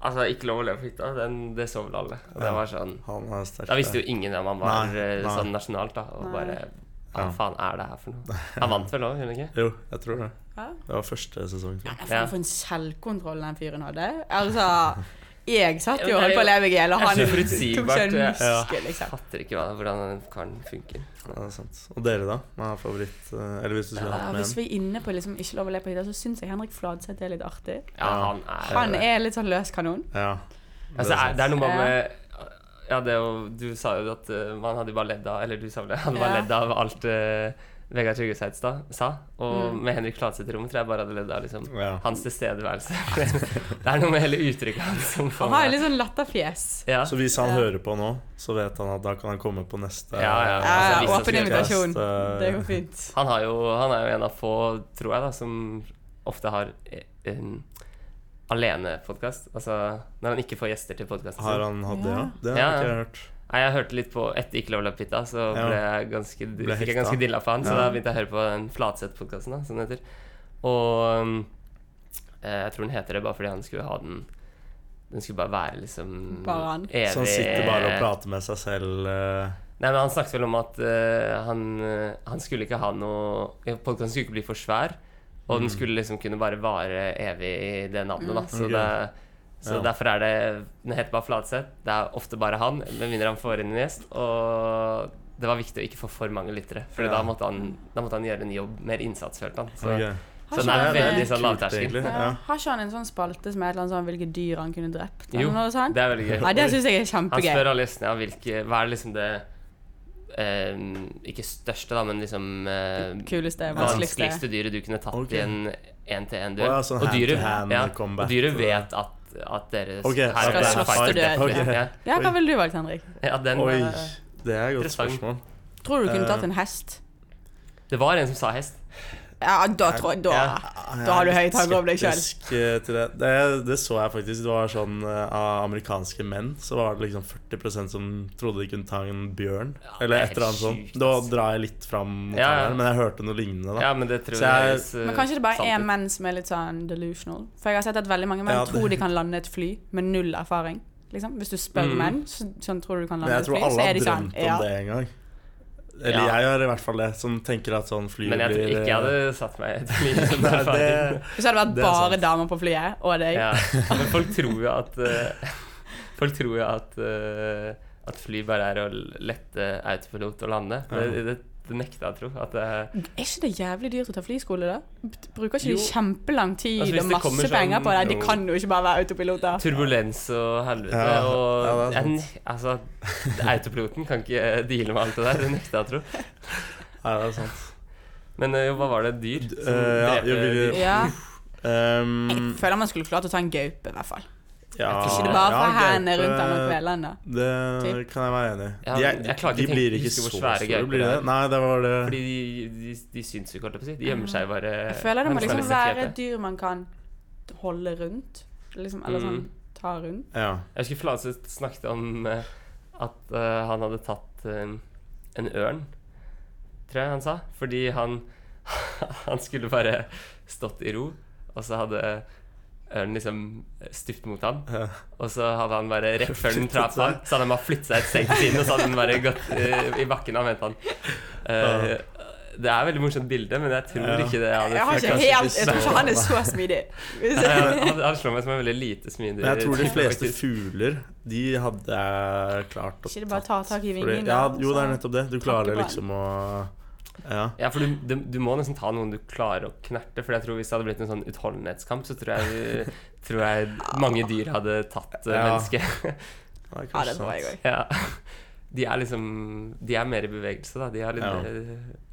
S1: altså, ikke lov å leve på hytta. Den, det så vel alle. Og det
S2: Ja.
S1: var sånn
S2: Han er sterk.
S1: Da visste jo ingen hvem han var
S2: Nei,
S1: eh,
S2: nei.
S1: sånn nasjonalt, da. Og
S3: Nei.
S1: bare Hva
S2: Ja.
S1: faen er det her for
S2: *laughs*
S1: noe? Han vant vel òg, gjorde han ikke?
S2: Jo, jeg tror det.
S3: Ja.
S2: Det var første sesong.
S3: Ja,
S1: Ja.
S3: For en selvkontroll den fyren hadde. Altså, jeg satt jo og
S1: Ja, men det er
S3: holdt på å leve i hjel, og
S1: det er
S3: han
S1: så
S3: tok seg
S1: forutsigbart,
S3: en
S1: ja.
S3: muskel, liksom.
S1: Fatter ikke hva, hvordan den karen funker.
S2: Ja, det er sant. Og dere, da? Hva er favoritt eh, Eller hvis du
S1: Ja,
S2: skulle
S3: Ja,
S2: hatt med
S3: hvis
S2: en?
S3: vi er inne på liksom ikke lov å le på hytta, så syns jeg Henrik Fladseth er litt artig.
S1: Ja,
S2: Ja.
S1: han er
S3: Han er litt sånn løs kanon.
S2: Ja.
S1: Altså, er, det er noe
S3: Ja.
S1: med eh, Ja, det er jo Du sa jo at eh, man hadde jo bare ledd av Eller du sa vel det? Hadde bare
S3: Ja.
S1: ledd av alt eh, Vegard Tryggeseid sta- sa. Og
S3: Mm.
S1: med Henrik Fladseth i rommet tror jeg bare hadde ledd av liksom,
S2: Ja.
S1: hans tilstedeværelse. *laughs* det er noe med hele uttrykket hans som får
S3: Han har
S1: meg-
S3: jo litt sånn latterfjes.
S1: ja.
S2: Så hvis han
S3: Ja.
S2: hører på nå, så vet han at da kan han komme på neste
S1: Ja, ja,
S2: eh,
S1: ja,
S3: Ja,
S1: altså, hvis
S3: åpen
S1: han skulle-
S3: invitasjon.
S2: eh,
S3: Det går fint.
S1: han, har jo, han er jo en av få, tror jeg, da, som ofte har eh, en alenepodkast. Altså når han ikke får gjester til podkasten
S2: Har han hatt det, ja? Det
S1: Ja,
S2: har jeg
S1: ja.
S2: ikke hørt.
S1: Nei, jeg hørte litt på etter Ikke lov å løpe hytta, så
S2: Ja.
S1: ble jeg ganske,
S2: Ble
S1: fikk jeg
S2: hekta.
S1: ganske dilla på han. Så
S2: Ja.
S1: da begynte jeg å høre på den Flatseth-podkasten, som den heter. Og um, eh, jeg tror den heter det bare fordi han skulle ha den Den skulle bare være liksom
S3: Bare han.
S1: evig
S2: Så han sitter bare og prater med seg selv. eh,
S1: Nei, men han snakket vel om at eh, han, eh, han skulle ikke ha noe Podkasten skulle ikke bli for svær, og
S2: Mm.
S1: den skulle liksom kunne bare vare evig i det navnet, da. Så,
S2: Ok.
S1: det, så
S2: Mm. Ja.
S1: derfor er det Den heter bare Flatseth. Det er ofte bare han, med mindre han får inn en gjest. Og det var viktig å ikke få for mange lyttere, for
S2: Ja.
S1: da, måtte han, da måtte han gjøre en jobb, mer innsats, følte han. Så,
S2: ok.
S1: så den
S3: Har
S1: er
S3: ikke han-
S1: veldig sånn
S2: Kult,
S1: lavterskel.
S2: egentlig.
S3: Ja.
S2: Ja.
S3: Har ikke han en sånn spalte som er et eller annet sånn hvilke dyr han kunne drept?
S1: Jo,
S3: Eller noe sånt?
S1: det er veldig gøy.
S3: Ja, det syns jeg er
S1: Han
S3: kjempegøy.
S1: spør alle gjestene ja, hvilke Hva er det liksom det eh, Ikke største, da, men liksom eh,
S3: Kuleste, vanskeligste.
S1: vanskeligste dyret du kunne tatt
S2: Ok.
S1: i en
S2: Å
S1: én-til-én-duell.
S2: ja, sånn
S1: og, dyret-
S2: hand-to-hand
S1: ja,
S2: combat.
S1: og dyret vet at, at dere
S2: Ok,
S1: her
S2: skal
S1: er det
S3: slåss
S1: fight
S3: til
S1: or death,
S2: døden.
S1: liksom. ja.
S3: Ja, hva ville du valgt, Henrik?
S1: ja, den
S2: Oi,
S1: eh,
S2: det er et godt
S1: Interessant.
S2: spørsmål.
S3: Tror du du kunne
S2: Eh.
S3: tatt en hest?
S1: Det var en som sa hest.
S3: Ja, da tror jeg
S1: Ja.
S3: da. Da har du høy tanke om deg selv.
S2: selv. eh, Det. Det, det så jeg faktisk. Det var sånn eh, Av amerikanske menn så var det liksom 40 som trodde de kunne ta en bjørn.
S1: Ja, det
S2: Eller
S1: er
S2: et eller annet
S1: helt sjukt,
S2: sånt. Da
S1: ass.
S2: drar jeg litt fram, mot
S1: Ja,
S2: han
S1: ja.
S2: her, men jeg hørte noe lignende. da
S1: Ja, men det tror jeg
S2: Så jeg-
S1: høres, eh,
S3: Men kanskje det bare
S1: sant
S3: er
S1: ut.
S3: menn som er litt sånn delusional? For jeg har sett at veldig mange menn
S2: Ja, det-
S3: tror de kan lande et fly med null erfaring. Liksom. Hvis du spør
S1: Mm.
S3: menn, så, sånn tror du du kan
S2: Men jeg
S3: lande et fly,
S2: tror alle
S3: så er
S2: har
S3: de sånn.
S2: drømt om
S3: ja.
S2: det en gang. Eller
S1: Ja.
S2: jeg gjør i hvert fall det, som tenker at sånn fly
S1: Men jeg tror ikke jeg hadde satt meg i et liv som *laughs*
S2: *laughs* Nei, det,
S1: erfaring.
S3: Hvis det hadde vært
S2: Det er
S3: bare
S2: sant.
S3: damer på flyet, og deg.
S1: Ja. Men folk tror jo at eh, *laughs* Folk tror jo at, eh, at fly bare er å lette autopilot og lande. Det, det, det nekta jeg å tro. At det er
S3: Er ikke det jævlig dyrt å ta flyskole, da? Bruker ikke
S1: Jo.
S3: de kjempelang tid
S1: Altså, hvis
S3: og
S1: det
S3: masse
S1: kommer sånn-
S3: penger på det? De
S2: Jo.
S3: kan jo ikke bare være autopiloter.
S1: Turbulens og helvete
S2: Ja, ja,
S1: og
S2: det er
S1: en, Altså, autopiloten kan ikke eh, deale med alt det der. Det nekter jeg å tro.
S2: Nei, det er sant.
S1: Men eh, jo, hva var det? Dyr?
S2: D-
S1: Som
S2: eh, ja,
S1: dreper
S2: jeg ville-
S1: dyr?
S3: Ja. Jeg
S2: Um,
S3: føler man skulle klart å ta en gaupe, i hvert fall.
S2: ja,
S3: Ikke det bare
S2: ja,
S3: fra hendene
S2: gaupe,
S3: rundt han og kvele han, da.
S2: Det
S3: Typ.
S2: kan jeg være enig i.
S1: Ja,
S2: De,
S1: men
S2: er,
S1: jeg klarer ikke
S2: de
S1: å
S2: blir
S1: tenke-
S2: ikke
S1: huske
S2: så
S1: hvor
S2: store,
S1: svære gauper
S2: blir
S1: det
S2: det?
S1: er.
S2: Nei, det var det
S1: Fordi de, de, de syns jo ikke, holdt jeg på å si. De gjemmer seg bare.
S3: Mm. Jeg føler det må
S1: men
S3: liksom
S1: føler seg
S3: være
S1: ikke.
S3: et dyr man kan holde rundt. Liksom, eller sånn
S1: Mm.
S3: ta rundt.
S2: Ja.
S1: Jeg husker Fladseth snakket om eh, at eh, han hadde tatt eh, en ørn, tror jeg han sa. Fordi han, *laughs* han skulle bare stått i ro, og så hadde ørnen liksom stupt mot ham.
S2: Ja.
S1: Og så hadde han bare rett før den
S2: *laughs* Flyttet
S1: traff han, så hadde han bare flyttet seg et steg til siden, og så hadde den bare gått eh, i bakken og ventet han. Eh, det er et veldig morsomt bilde, men jeg tror
S2: Ja.
S1: ikke det hadde
S3: Jeg, har ikke
S1: funket.
S3: helt, jeg tror ikke han er så
S2: *laughs*
S3: smidig.
S1: Han, han slår meg som en veldig lite smidig
S2: Men jeg tror de
S1: type,
S2: fleste
S1: faktisk.
S2: fugler, de hadde jeg klart å
S3: Ikke det bare ta tak i
S2: Fordi,
S3: vingen?
S2: ja,
S3: da,
S2: jo, det er
S3: så-
S2: nettopp det. Du
S3: Tanke
S2: klarer
S3: på
S2: liksom å Ja.
S1: Ja, for du, du, du må nesten ta noen du klarer å knerte. For jeg tror hvis det hadde blitt en sånn utholdenhetskamp, så tror jeg, tror jeg mange dyr hadde tatt eh,
S2: Ja.
S1: mennesket.
S2: Nei,
S3: Ja, det
S2: kanskje
S3: tror jeg
S2: sant.
S3: òg.
S1: *laughs* ja. De er liksom De er mer i bevegelse, da. De har litt eh,
S2: Ja.
S1: mer-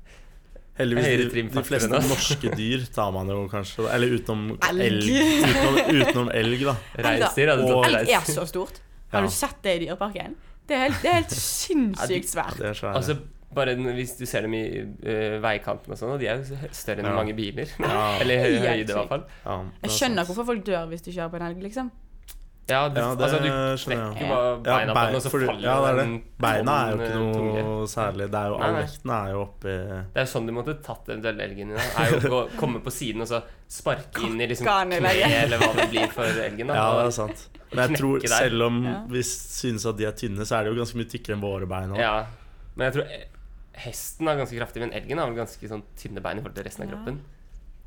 S1: Høyere
S2: Heldigvis de, de
S1: trimfaktor
S2: fleste
S1: enn oss.
S2: norske dyr tar man jo kanskje da. Eller utenom
S3: Elg.
S2: elg. Utenom, utenom elg, da.
S1: reinsdyr. Hadde
S2: Og-
S1: tatt
S3: Elg er
S1: reinsdyr.
S3: så stort.
S2: Ja.
S3: Har du sett det i Dyreparken? Det er helt, det er
S2: *laughs*
S3: helt sinnssykt
S2: Ja,
S3: svært.
S2: det er svært.
S1: Altså, bare n- hvis du ser dem i eh, veikanten og sånn, og de er jo så hø- større enn
S2: Ja.
S1: mange biler.
S2: Ja.
S1: *laughs* Eller i hø-
S3: Helt
S1: høyde, i hvert fall.
S2: ja, altså-
S3: Jeg skjønner hvorfor folk dør hvis de kjører på en elg, liksom.
S1: Ja, du,
S2: Ja, det
S1: altså, du
S2: skjønner
S1: knekker
S2: jeg.
S1: jo bare
S2: Ja,
S1: beina på
S2: bein-
S1: den, og så
S2: for du-
S1: faller
S2: ja, det er
S1: den
S2: det. Beina er jo
S1: tonn, eh,
S2: ikke
S1: tunge.
S2: noe særlig. Det er jo
S1: Nei,
S2: All
S1: nei.
S2: vekten er jo oppi
S1: Det er jo sånn du måtte tatt eventuelt elgen din. da. Er jo å gå, komme på siden og så sparke inn i liksom
S3: Kakka ned
S1: kne,
S3: elgen.
S1: eller hva det blir for elgen. Da.
S2: Ja, det
S1: Og-
S2: er sant. Men jeg
S1: knekke
S2: tror,
S1: der.
S2: selv om
S3: Ja.
S2: vi synes at de er tynne, så er de jo ganske mye tykkere enn våre bein. også.
S1: ja. Men jeg tror eh, hesten er ganske kraftig, men elgen har vel ganske sånn tynne bein i forhold til resten av
S3: Ja.
S1: kroppen.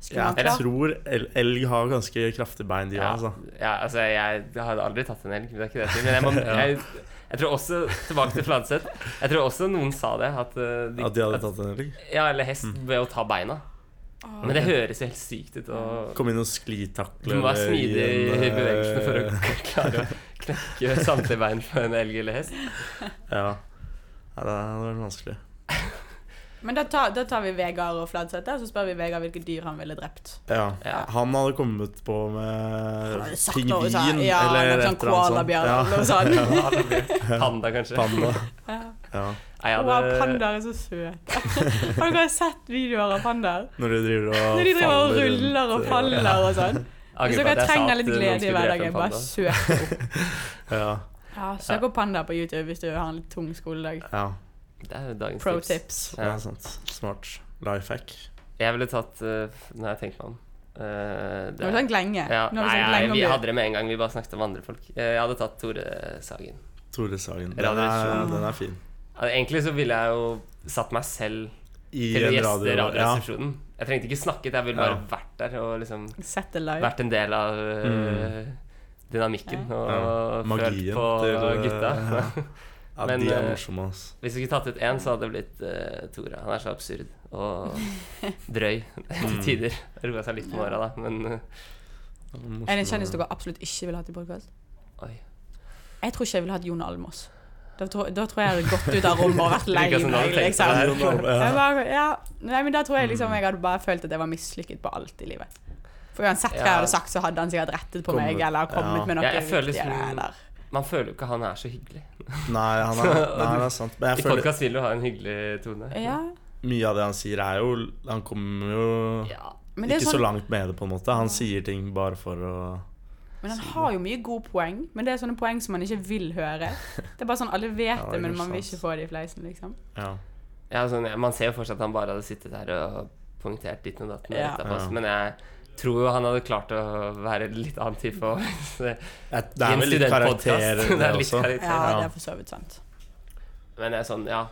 S3: Skulle
S2: Jeg
S3: man
S1: Eller-
S3: klart
S2: tror el elg har ganske kraftige bein, de òg.
S1: Ja,
S2: Altså.
S1: ja altså jeg, jeg hadde aldri tatt en elg, det er ikke det jeg sier. Men jeg,
S2: *laughs*
S1: må, jeg, jeg tror også, tilbake til Fladseth, jeg tror også noen sa det. At, eh, de,
S2: At de hadde tatt Mm. en elg.
S1: Ja, eller hest ved å ta beina. Men det høres jo helt sykt ut. Og
S2: Kom inn og
S1: Du
S2: sklitakle
S1: må være
S2: eller gi
S1: smidig
S2: en,
S1: i
S2: eh,
S1: bevegelsene for å *laughs* klare å knekke samtlige bein på en elg eller hest.
S2: Ja. Nei, det hadde vært vanskelig.
S3: Men da tar, da tar vi Vegard og Fladsæter, og så spør vi Vegard hvilke dyr han ville drept.
S2: Ja.
S1: Ja.
S2: Han hadde kommet på med
S3: hadde sagt noe,
S2: pingvin
S3: sa- ja,
S2: eller et
S3: noe sånn
S2: eller annet
S3: koalabjørn eller noe
S2: sånt.
S1: *laughs*
S3: sånt.
S2: Ja.
S1: Ja, det blir Panda, kanskje.
S2: *laughs* Panda.
S3: Ja.
S2: Ja.
S1: Nei, jeg
S3: Å,
S1: hadde,
S3: pandaer er så søte. *laughs* Har dere sett videoer av pandaer?
S2: Når de driver og
S3: Når de driver og
S2: faller
S3: ruller og
S2: rundt,
S3: faller
S2: ja.
S3: og sånn.
S1: angrer på
S3: Hvis
S1: at
S3: dere
S1: jeg sa
S3: trenger
S1: at eh,
S3: litt
S1: noen
S3: glede i
S1: skulle drepe en
S3: hverdagen, bare
S1: panda.
S3: søk opp.
S2: Ja.
S3: Ja, søk opp panda på YouTube hvis du har en litt tung skoledag.
S2: ja.
S1: Det er jo dagens
S3: Pro
S1: tips.
S3: tips.
S2: Det er sant. Smart. Life hack.
S1: Jeg ville tatt eh, Nå har jeg tenkt meg om. Eh, det
S3: Nå har
S1: er-
S3: vi snakket lenge.
S1: Ja,
S3: Nå har
S1: nei,
S3: vi snakket
S1: nei,
S3: lenge om
S1: vi
S3: dyr.
S1: hadde det med en gang. Vi bare snakket om andre folk. Eh, Jeg hadde tatt Tore Sagen.
S2: Tore Sagen. Den er,
S1: Radioresepsjon.
S2: den er fin.
S1: Altså, Egentlig så ville jeg jo satt meg selv
S2: I
S1: til altså. å
S2: en
S1: gjeste
S2: radio. Ja.
S1: Radioresepsjonen. Jeg trengte ikke snakket, jeg ville bare
S2: Ja.
S1: vært der og liksom
S3: Sett det live.
S1: vært en del av øh, dynamikken og
S2: Mm. Ja, magien
S1: følt på
S2: til, øh,
S1: gutta.
S2: ja. Ja,
S1: Men,
S2: de er
S1: eh,
S2: morsomme, ass.
S1: *laughs* Hvis vi skulle tatt ut én, så hadde det blitt uh, Tora. Han er så absurd og drøy til
S2: Mm.
S1: tider. Roa seg litt med åra, da, men øh,
S3: Er det en kjendis dere absolutt ikke vil ha til podkast?
S1: oi.
S3: Jeg tror ikke jeg ville hatt Jon Almaas. Da, tror- da tror jeg jeg hadde gått ut av rommet
S2: *laughs*
S3: og vært lei
S1: Virker som du
S3: meg.
S1: hadde tenkt
S3: Liksom.
S1: på
S2: Jon Almaas, Mm.
S3: Jeg bare, ja. Nei, men da tror jeg liksom jeg hadde bare følt at jeg var mislykket på alt i livet. For uansett hva jeg
S1: Ja.
S3: hadde sagt, så hadde han sikkert rettet på meg
S2: Kommet-
S3: eller kommet
S2: ja.
S3: med noe
S1: Jeg- jeg føler liksom-
S3: viktigere, eller-
S1: Man føler jo ikke han er så hyggelig.
S2: Nei, han er, nei, det er sant.
S1: *laughs*
S2: Men
S1: I
S2: jeg føler
S1: podkast vil du ha en hyggelig tone.
S3: Ja.
S2: mye av det han sier, er jo Han kommer jo
S1: Ja.
S3: Men, det
S2: ikke
S3: er
S2: så
S3: sånn,
S2: langt med det, på en måte. Han sier ting bare for å
S3: men han har jo mye gode poeng. Men det er sånne poeng som man ikke vil
S2: *laughs*
S3: høre. Det er bare sånn, Alle vet
S2: Ja, det er
S3: det, men man vil
S2: sant.
S3: ikke få det i fleisen, liksom.
S2: Ja.
S1: Ja, sånn, ja, man ser jo fortsatt at han bare hadde sittet her og poengtert ditt og datt. med
S3: Ja.
S1: dette på oss,
S2: Ja.
S1: Men jeg tror jo han hadde klart å være litt annen type. Og,
S2: Jeg- Det er vel litt karakter, det,
S1: *laughs* det er litt
S2: også.
S1: karakter.
S3: Ja,
S2: Ja.
S3: det er for så vidt sant.
S1: Men det er sånn, ja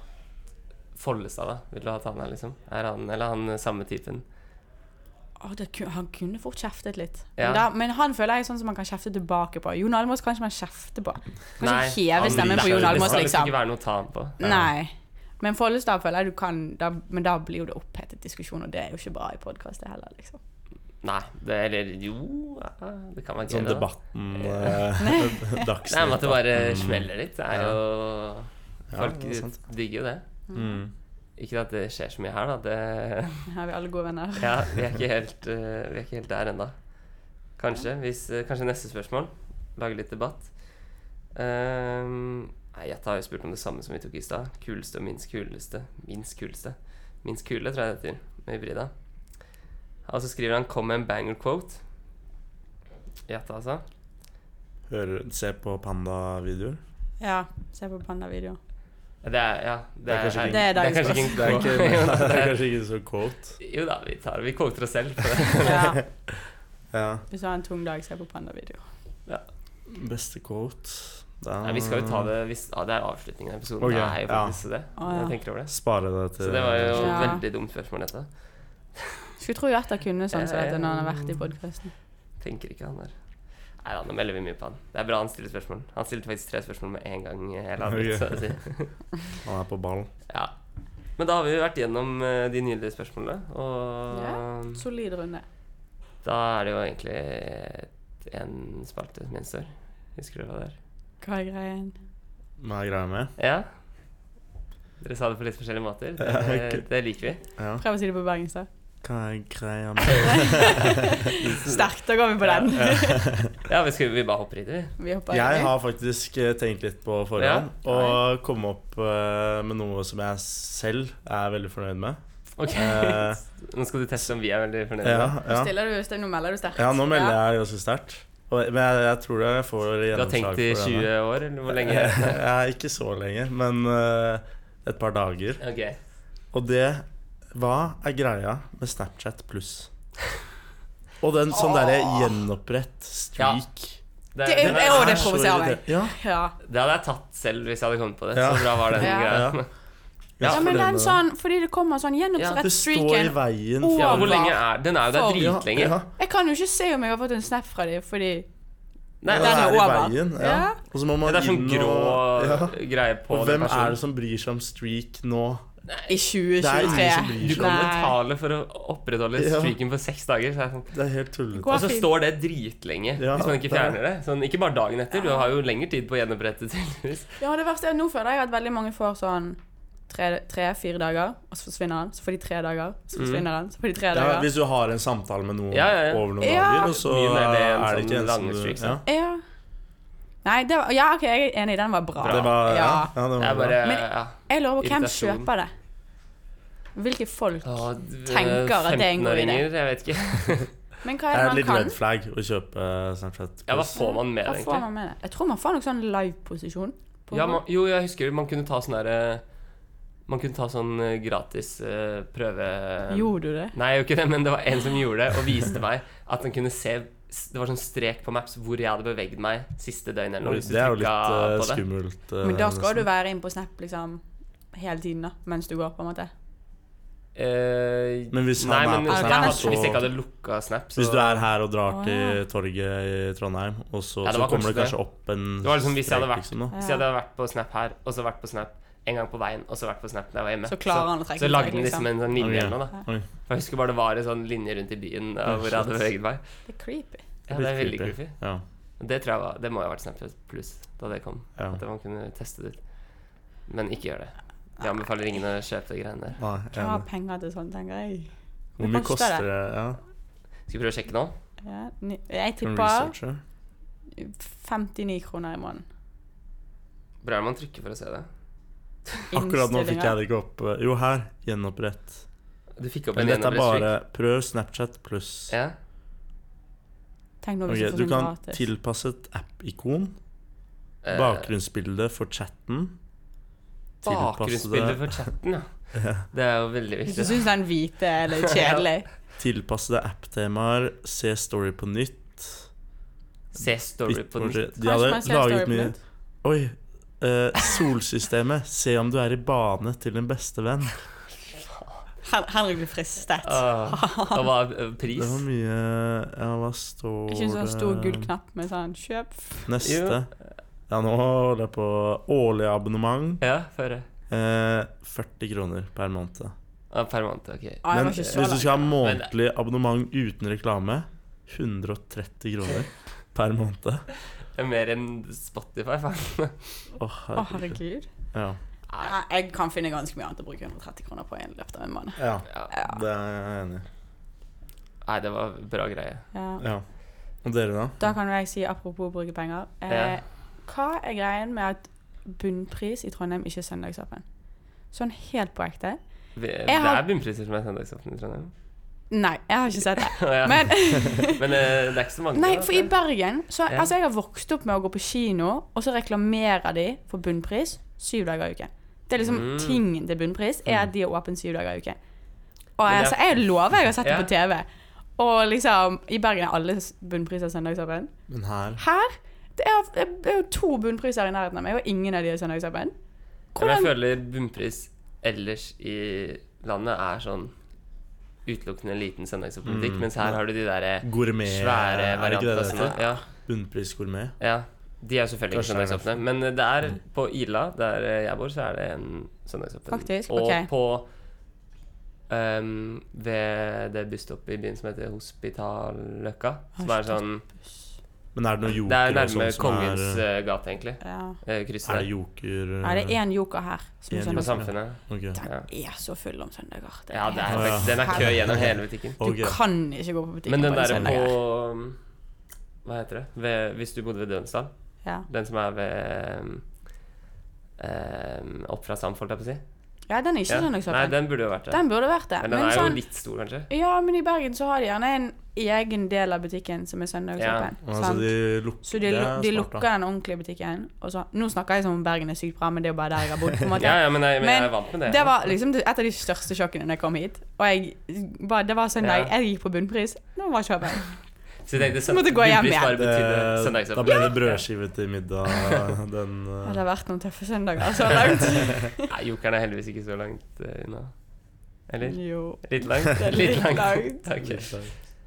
S1: Follestad, da. Vil du ha han her, liksom? Er han eller han samme typen?
S3: Å, det, ku- han kunne fort kjeftet litt.
S1: Ja.
S3: Men, da, men han føler jeg er sånn som man kan kjefte tilbake på. Jon Almaas kan ikke man kjefte på. Kan ikke heve
S1: han-
S3: stemmen
S2: liker
S3: på Jon
S2: det.
S3: Almaas,
S1: Det skal
S3: liksom.
S1: ikke være noe å ta ham på.
S2: Ja.
S3: Nei. Men Follestad føler jeg du kan da, Men da blir jo det opphetet diskusjon, og det er jo ikke bra i podkast, det heller, liksom.
S1: Nei, det, eller jo ja, Det kan være gøy. det,
S2: Sånn
S1: da.
S2: debatten *laughs* eh,
S1: *laughs*
S2: Mm.
S1: Nei, men at det
S2: Dagsnytt.
S1: bare smeller litt. Det er jo
S2: Ja,
S1: Folk
S2: det er sant.
S1: digger jo det.
S2: Mm.
S1: Ikke at det skjer så mye her, da. Det,
S3: Her er vi alle gode venner.
S1: ja, vi, er ikke helt, eh, vi er ikke helt der ennå. Kanskje, hvis, eh, kanskje neste spørsmål. Lage litt debatt. Ehm, nei, jeg har jo spurt om det samme som vi tok i stad. Kuleste og minst kuleste. Minst kuleste. Minst kule, tror jeg det heter. Med hybrida. Og så skriver han 'Kom med en banger quote'. Gjette, altså.
S2: Hører, se på pandavideoer.
S3: Ja, se på pandavideoer.
S1: Det er, ja, det er,
S2: kanskje ikke-
S3: Det er
S1: det er
S3: dagens
S1: kanskje ikke en
S2: Det er, ikke,
S1: quote. Jo,
S2: *laughs* det er
S1: da, det
S2: kanskje
S1: *laughs*
S2: ikke så quote.
S1: er- Jo da, vi tar Vi quoter oss selv. på det.
S2: *laughs*
S3: Ja.
S2: Ja.
S3: Hvis du har en tung dag, se på pandavideoer.
S2: Beste quote Da-
S1: Nei, vi skal jo ta det hvis, ja, Det er avslutningen av episoden.
S2: Ok,
S1: det er jo faktisk det.
S3: Å, ja.
S1: Jeg tenker over det.
S2: Spare det til
S1: Så det var jo
S3: Ja.
S1: veldig dumt spørsmål, dette.
S3: Skulle tro Hjerta kunne sånn som dette når han har vært i
S1: Eh,
S3: podkasten.
S1: Tenker ikke han der. Nei da, nå melder vi mye på han. Det er bra han stiller spørsmål. Han stilte faktisk tre spørsmål med en gang. eh, Hele avbrutt,
S2: Ok.
S1: så å si. *laughs*
S2: Han er på ball.
S1: ja. Men da har vi jo vært gjennom eh, de nydelige spørsmålene, og
S3: Solid runde.
S1: da er det jo egentlig en spalte som gjenstår. Husker du hva det er?
S3: Hva er greien?
S2: Hva er greia med?
S1: Ja? Dere sa det på litt forskjellige måter. Det,
S2: *laughs* Ja, ok.
S1: det liker vi.
S2: Ja.
S3: Prøv å si det på
S1: *laughs*
S3: bergensk, da.
S2: Hva er greia med
S3: Sterkt, da går vi på den.
S1: Ja, *laughs* vi, skal, vi bare hopper i det, vi.
S3: Vi hopper
S2: Jeg
S3: inn.
S2: har faktisk eh, tenkt litt på forhånd og kom opp eh, med noe som jeg selv er veldig fornøyd
S1: *laughs*
S2: med.
S1: Ok,
S2: Eh,
S1: *laughs* Nå skal du teste om vi er veldig fornøyde.
S2: ja,
S1: med det.
S2: ja.
S3: Stiller du, stem- nå melder du sterkt.
S2: ja, nå melder jeg ganske sterkt. Og- Men jeg, jeg tror jeg får
S1: Du har
S2: gjennomslag
S1: tenkt i
S2: for
S1: 20
S2: denne.
S1: år, eller hvor lenge?
S2: *laughs* Ja, ikke så lenge, men eh, et par dager.
S1: Ok.
S2: Og det Hva er greia med Snapchat pluss? Og den sånn derre gjenopprett streak.
S1: Det,
S3: Det er-
S1: det,
S3: Å, det
S2: er så
S3: provoserer meg.
S2: irriterende. Ja,
S3: Ja.
S1: det hadde jeg tatt selv hvis jeg hadde kommet på det.
S2: Ja.
S1: Så bra var den
S3: Ja.
S1: greia.
S3: Ja, men
S2: fornøyd
S3: den
S2: med
S3: sånn, fordi det kommer sånn
S1: Ja,
S3: gjennomtrett
S2: Det står i
S3: streaken.
S2: veien.
S3: Å,
S2: for-
S1: *laughs* Ja, hvor lenge er Den er jo der
S3: For-
S2: Ja,
S1: dritlenge.
S2: ja.
S3: Jeg kan jo ikke se om jeg har fått en snap fra dem, fordi
S1: Nei,
S2: Den
S1: det,
S3: er
S2: er i
S3: over.
S2: veien. Ja.
S3: Ja.
S2: Og så må
S1: er,
S2: man
S1: det er sånn
S2: inn
S1: grå
S2: og ja.
S1: greie på
S2: Og
S1: den
S2: hvem er det
S1: personen.
S2: som bryr seg om streak nå?
S3: I
S2: Det er ingen som
S3: 2023
S2: bryr
S1: Du
S2: seg om
S1: kan
S3: Nei.
S1: betale for å opprettholde
S2: Ja.
S1: streaken for seks dager. Så er det sånn.
S2: Det er helt tullete.
S3: Gå-
S1: Og så
S3: fint.
S1: står det dritlenge
S2: Ja,
S1: hvis man ikke
S2: det er det.
S1: fjerner det. Sånn, ikke bare dagen etter, du har jo lengre tid på å gjenopprette. *laughs* tydeligvis.
S3: Ja, det verste er at nå føler jeg at veldig mange får sånn tre-fire dager, og så forsvinner han. Så får de tre dager, så forsvinner han. Så får de tre
S2: Mm. Ja,
S3: dager.
S2: hvis du har en samtale med noen
S1: Ja, ja, ja.
S2: over noen
S3: Ja.
S2: dager, og så
S1: Mye mer det enn
S2: er det ikke
S1: sånn
S2: en som
S1: lange
S2: du
S1: streaks,
S2: ja.
S3: Ja. Nei, det var, ja, OK, jeg er enig, den var bra.
S2: Det var, ja.
S3: Ja.
S2: Ja, det
S1: Det
S2: var
S1: er bare,
S3: Men-
S1: ja.
S3: Jeg lover, hvem
S1: Irritasjon.
S3: kjøper det? Hvilke folk?
S1: Å, d-
S3: Tenker at det er en god idé.
S1: 15-åringer, Jeg vet ikke.
S3: Men hva
S2: Det
S3: er
S2: er
S3: det man
S2: litt
S3: kan?
S2: red flag å kjøpe Snapchat.
S1: Ja, hva
S2: Plus.
S1: får man med
S3: Hva
S1: det,
S3: får
S1: egentlig?
S3: man med det? Jeg tror man får noen sånn live-posisjon. på-
S1: Ja, man, jo, jeg husker man kunne ta sånn derre Man kunne ta sånn eh, gratis eh, prøve
S3: Gjorde du det?
S1: Nei, jeg gjorde ikke det, men det var en som gjorde det, og viste meg at han kunne se s- Det var sånn strek på Maps hvor jeg hadde beveget meg siste døgn eller noe.
S2: Oi,
S1: hvis du
S2: det er jo litt
S1: trykket
S2: eh,
S1: på det.
S2: skummelt. eh,
S3: Men da skal du
S2: nesten.
S3: være inne på Snap liksom hele tiden, da, mens du går, på en måte.
S1: Eh,
S2: Men hvis han
S1: nei,
S2: er
S1: men
S2: på
S1: jeg
S3: Snap,
S1: hadde,
S3: så-
S1: Hvis jeg ikke hadde lukka Snap, så
S2: Hvis du er her og drar
S3: Å,
S2: til
S3: ja.
S2: torget i Trondheim, og så,
S1: Ja, det
S2: så
S1: var
S2: kommer det
S1: kanskje det.
S2: kanskje opp en
S1: Det var liksom hvis jeg hadde vært-
S2: liksom, da.
S1: Hvis jeg hadde vært på Snap her, og så vært på Snap en gang på veien, og så vært på Snap da jeg var hjemme
S3: Så klarer han å trekke
S1: Så
S3: seg,
S1: lagde den
S3: liksom.
S1: liksom en sånn linje
S2: Ok.
S1: eller noe, da.
S2: Oi.
S1: For jeg husker bare det var en sånn linje rundt i byen eh, hvor jeg hadde beveget meg.
S3: Det er creepy.
S1: Ja, det er veldig creepy.
S2: Ja.
S1: Det tror jeg var Det må jo ha vært Snapchat pluss da det kom.
S2: Ja.
S1: At man kunne teste det ut. Men ikke gjør det. Jeg anbefaler ingen å kjøpe de greiene der.
S2: Nei,
S3: Jeg har
S2: enig.
S3: penger til sånt, tenker jeg.
S2: Hvor mye koster det? Ja.
S1: Skal vi prøve å sjekke nå?
S3: Ja, ni- jeg
S2: Kan du
S3: tipper
S2: researche?
S3: 59 kroner i måneden.
S1: Hvor er det man trykker for å se det?
S2: Akkurat nå fikk
S3: Innstillinger.
S2: jeg det ikke opp. Jo, her. Gjenopprett.
S1: Du fikk opp en
S2: Men dette er bare
S1: gjennombruddsfrik.
S2: prøv Snapchat pluss.
S1: Ja.
S3: Tenk nå hvis
S2: Ok,
S3: du får
S2: du
S3: sånn
S2: kan
S3: gratis.
S2: tilpasse et app-ikon.
S1: Eh,
S2: Bakgrunnsbilde for chatten. Tilpasse
S1: Bakgrunnsbilde
S2: det,
S1: for chatten,
S2: *laughs*
S1: ja. Det er jo veldig
S3: Hvis du
S1: viktig.
S3: syns den hvite er litt kjedelig.
S2: tilpasse det app-temaer. Se story på nytt.
S1: Se story på den.
S2: Bitboard- De
S3: Kanskje
S2: hadde
S3: man ser story
S2: laget
S3: på
S2: mye
S3: nytt.
S2: Oi. eh, solsystemet. *laughs* Se om du er i bane til din beste venn.
S3: Hen- Henrik blir fristet.
S1: Åh, Ah, Og hva er eh,
S2: Det
S1: pris?
S2: var mye Ja, hva står
S3: Ikke en sånn stor
S2: det?
S3: gul knapp med sånn 'kjøp'.
S2: Neste. Ja, nå holder jeg på årlig abonnement.
S1: Ja, før det.
S2: Eh, 40 kroner per måned.
S1: Ah, per måned, ok.
S3: Ah,
S2: Men
S3: jeg var
S2: hvis
S3: ikke
S2: du
S3: så lei.
S2: skal ha månedlig abonnement uten reklame, 130 kroner per måned.
S1: Det er mer enn Spotify, faen.
S2: Å,
S3: Å,
S2: herregud.
S3: herregud.
S2: Ja.
S1: Nei.
S3: Jeg kan finne ganske mye annet å bruke 130 kroner på i løpet av en måned.
S2: Ja,
S1: Ja.
S3: Ja.
S2: det er jeg enig i.
S1: Nei, det var bra greie.
S3: Ja.
S2: Ja. Og dere, da?
S3: Da kan jo jeg si, apropos å bruke penger eh,
S1: Ja.
S3: Hva er greien med at bunnpris i Trondheim ikke er søndagsåpen? Sånn helt på ekte?
S1: Vi, det
S3: har-
S1: er bunnpriser som er søndagsaften i Trondheim. *laughs*
S3: Nei, jeg har ikke sett *laughs* det.
S1: ja. Men,
S3: Men
S1: eh, det er ikke så mange.
S3: Nei,
S1: da,
S3: for i
S1: tror jeg.
S3: Bergen så,
S1: Ja.
S3: altså Jeg har vokst opp med å gå på kino, og så reklamerer de for bunnpris syv dager i uken. Det er liksom
S1: Mm.
S3: tingen til bunnpris er at de er åpne syv dager i uken. Og
S1: Men
S3: jeg,
S1: det-
S3: altså, jeg lover jeg har sett Mm. det
S1: Ja.
S3: på TV. Og liksom, i Bergen er alle s- bunnpriser søndagsåpen.
S2: Men her
S3: Her det er, det er jo to bunnpriser i nærheten av meg, og ingen av de er søndagsåpen.
S1: Ja, Men jeg
S3: Hvordan-
S1: føler bunnpris ellers i landet er sånn utelukkende liten søndagspolitikk,
S2: Mm.
S1: mens her har du de derre
S2: Gourmet
S1: svære
S2: Er det ikke det det
S1: variantene. som er-
S2: heter?
S1: Ja,
S2: sånn. Bunnprisgourmet.
S1: ja. De er jo selvfølgelig ikke
S2: Kanskje det Mm. er derfor.
S1: søndagsåpne, men eh, det er på Ila, der eh, jeg bor, så er det en søndagsåpen.
S3: Faktisk,
S1: Og
S3: ok.
S1: på ehm, ved det busstoppet i byen som heter Hospitalløkka, som er sånn
S2: Men er det noe
S1: Det er
S2: joker og
S1: nærme
S2: sånn som er
S1: Kongens eh, gate, egentlig. Eh,
S3: Ja.
S2: Er det
S1: Krysset
S2: joker
S3: Nei, det er én joker her som er
S2: En
S1: på
S2: joker.
S3: søndagsåpen.
S1: Samfunnet.
S2: Ok.
S3: Den er så full om søndager. Det
S1: Ja, det er,
S3: helt
S2: Ja.
S1: faktisk- den er kø
S3: forferdelig.
S1: gjennom hele butikken.
S3: Du
S2: Ok.
S3: kan ikke gå på butikken
S1: Men den
S3: på en
S1: der
S3: søndag.
S1: på
S3: her.
S1: um, Hva heter det? Ved, hvis du bodde ved Dønsdal?
S3: Ja.
S1: Den som er ved um, um, Opp fra Samfold, holdt jeg på å si.
S3: ja, den er ikke
S1: Ja. Nei,
S3: søndagsåpen.
S1: den burde jo vært det.
S3: Den burde vært det.
S1: Men den
S3: Men
S1: er jo
S3: sånn,
S1: litt stor, kanskje.
S3: ja, men i Bergen så har de gjerne en egen del av butikken som er søndagsåpen.
S2: Men
S3: sant?
S2: Altså, de lukker
S3: så de,
S2: det er
S3: lu- de
S2: smart, da.
S3: lukker den ordentlige butikken. Og så, nå snakker jeg som om Bergen er sykt bra, men det er jo bare der jeg har bodd. på en måte.
S1: Ja, ja, men jeg, men jeg
S3: Men
S1: er vant med det.
S3: Det var liksom det- et av de største sjokkene da jeg kom hit. Og jeg, bare, det var søndag.
S1: Ja.
S3: Jeg gikk på bunnpris. Nå var kjøpet.
S1: Så jeg tenkte
S3: Så måtte jeg gå hjem
S1: bunnpris
S3: igjen.
S1: bare betydde
S2: Det- Da
S1: søndagsåpent.
S2: ble det brødskive til
S3: *laughs*
S2: middag. Den
S3: Det
S2: eh,
S3: har vært noen tøffe søndager så langt.
S1: Nei, jokeren er heldigvis ikke så langt eh, unna. *laughs* Eller?
S3: Jo.
S1: Litt langt?
S3: Det er
S1: Litt
S3: litt langt.
S1: langt. *laughs* Ok.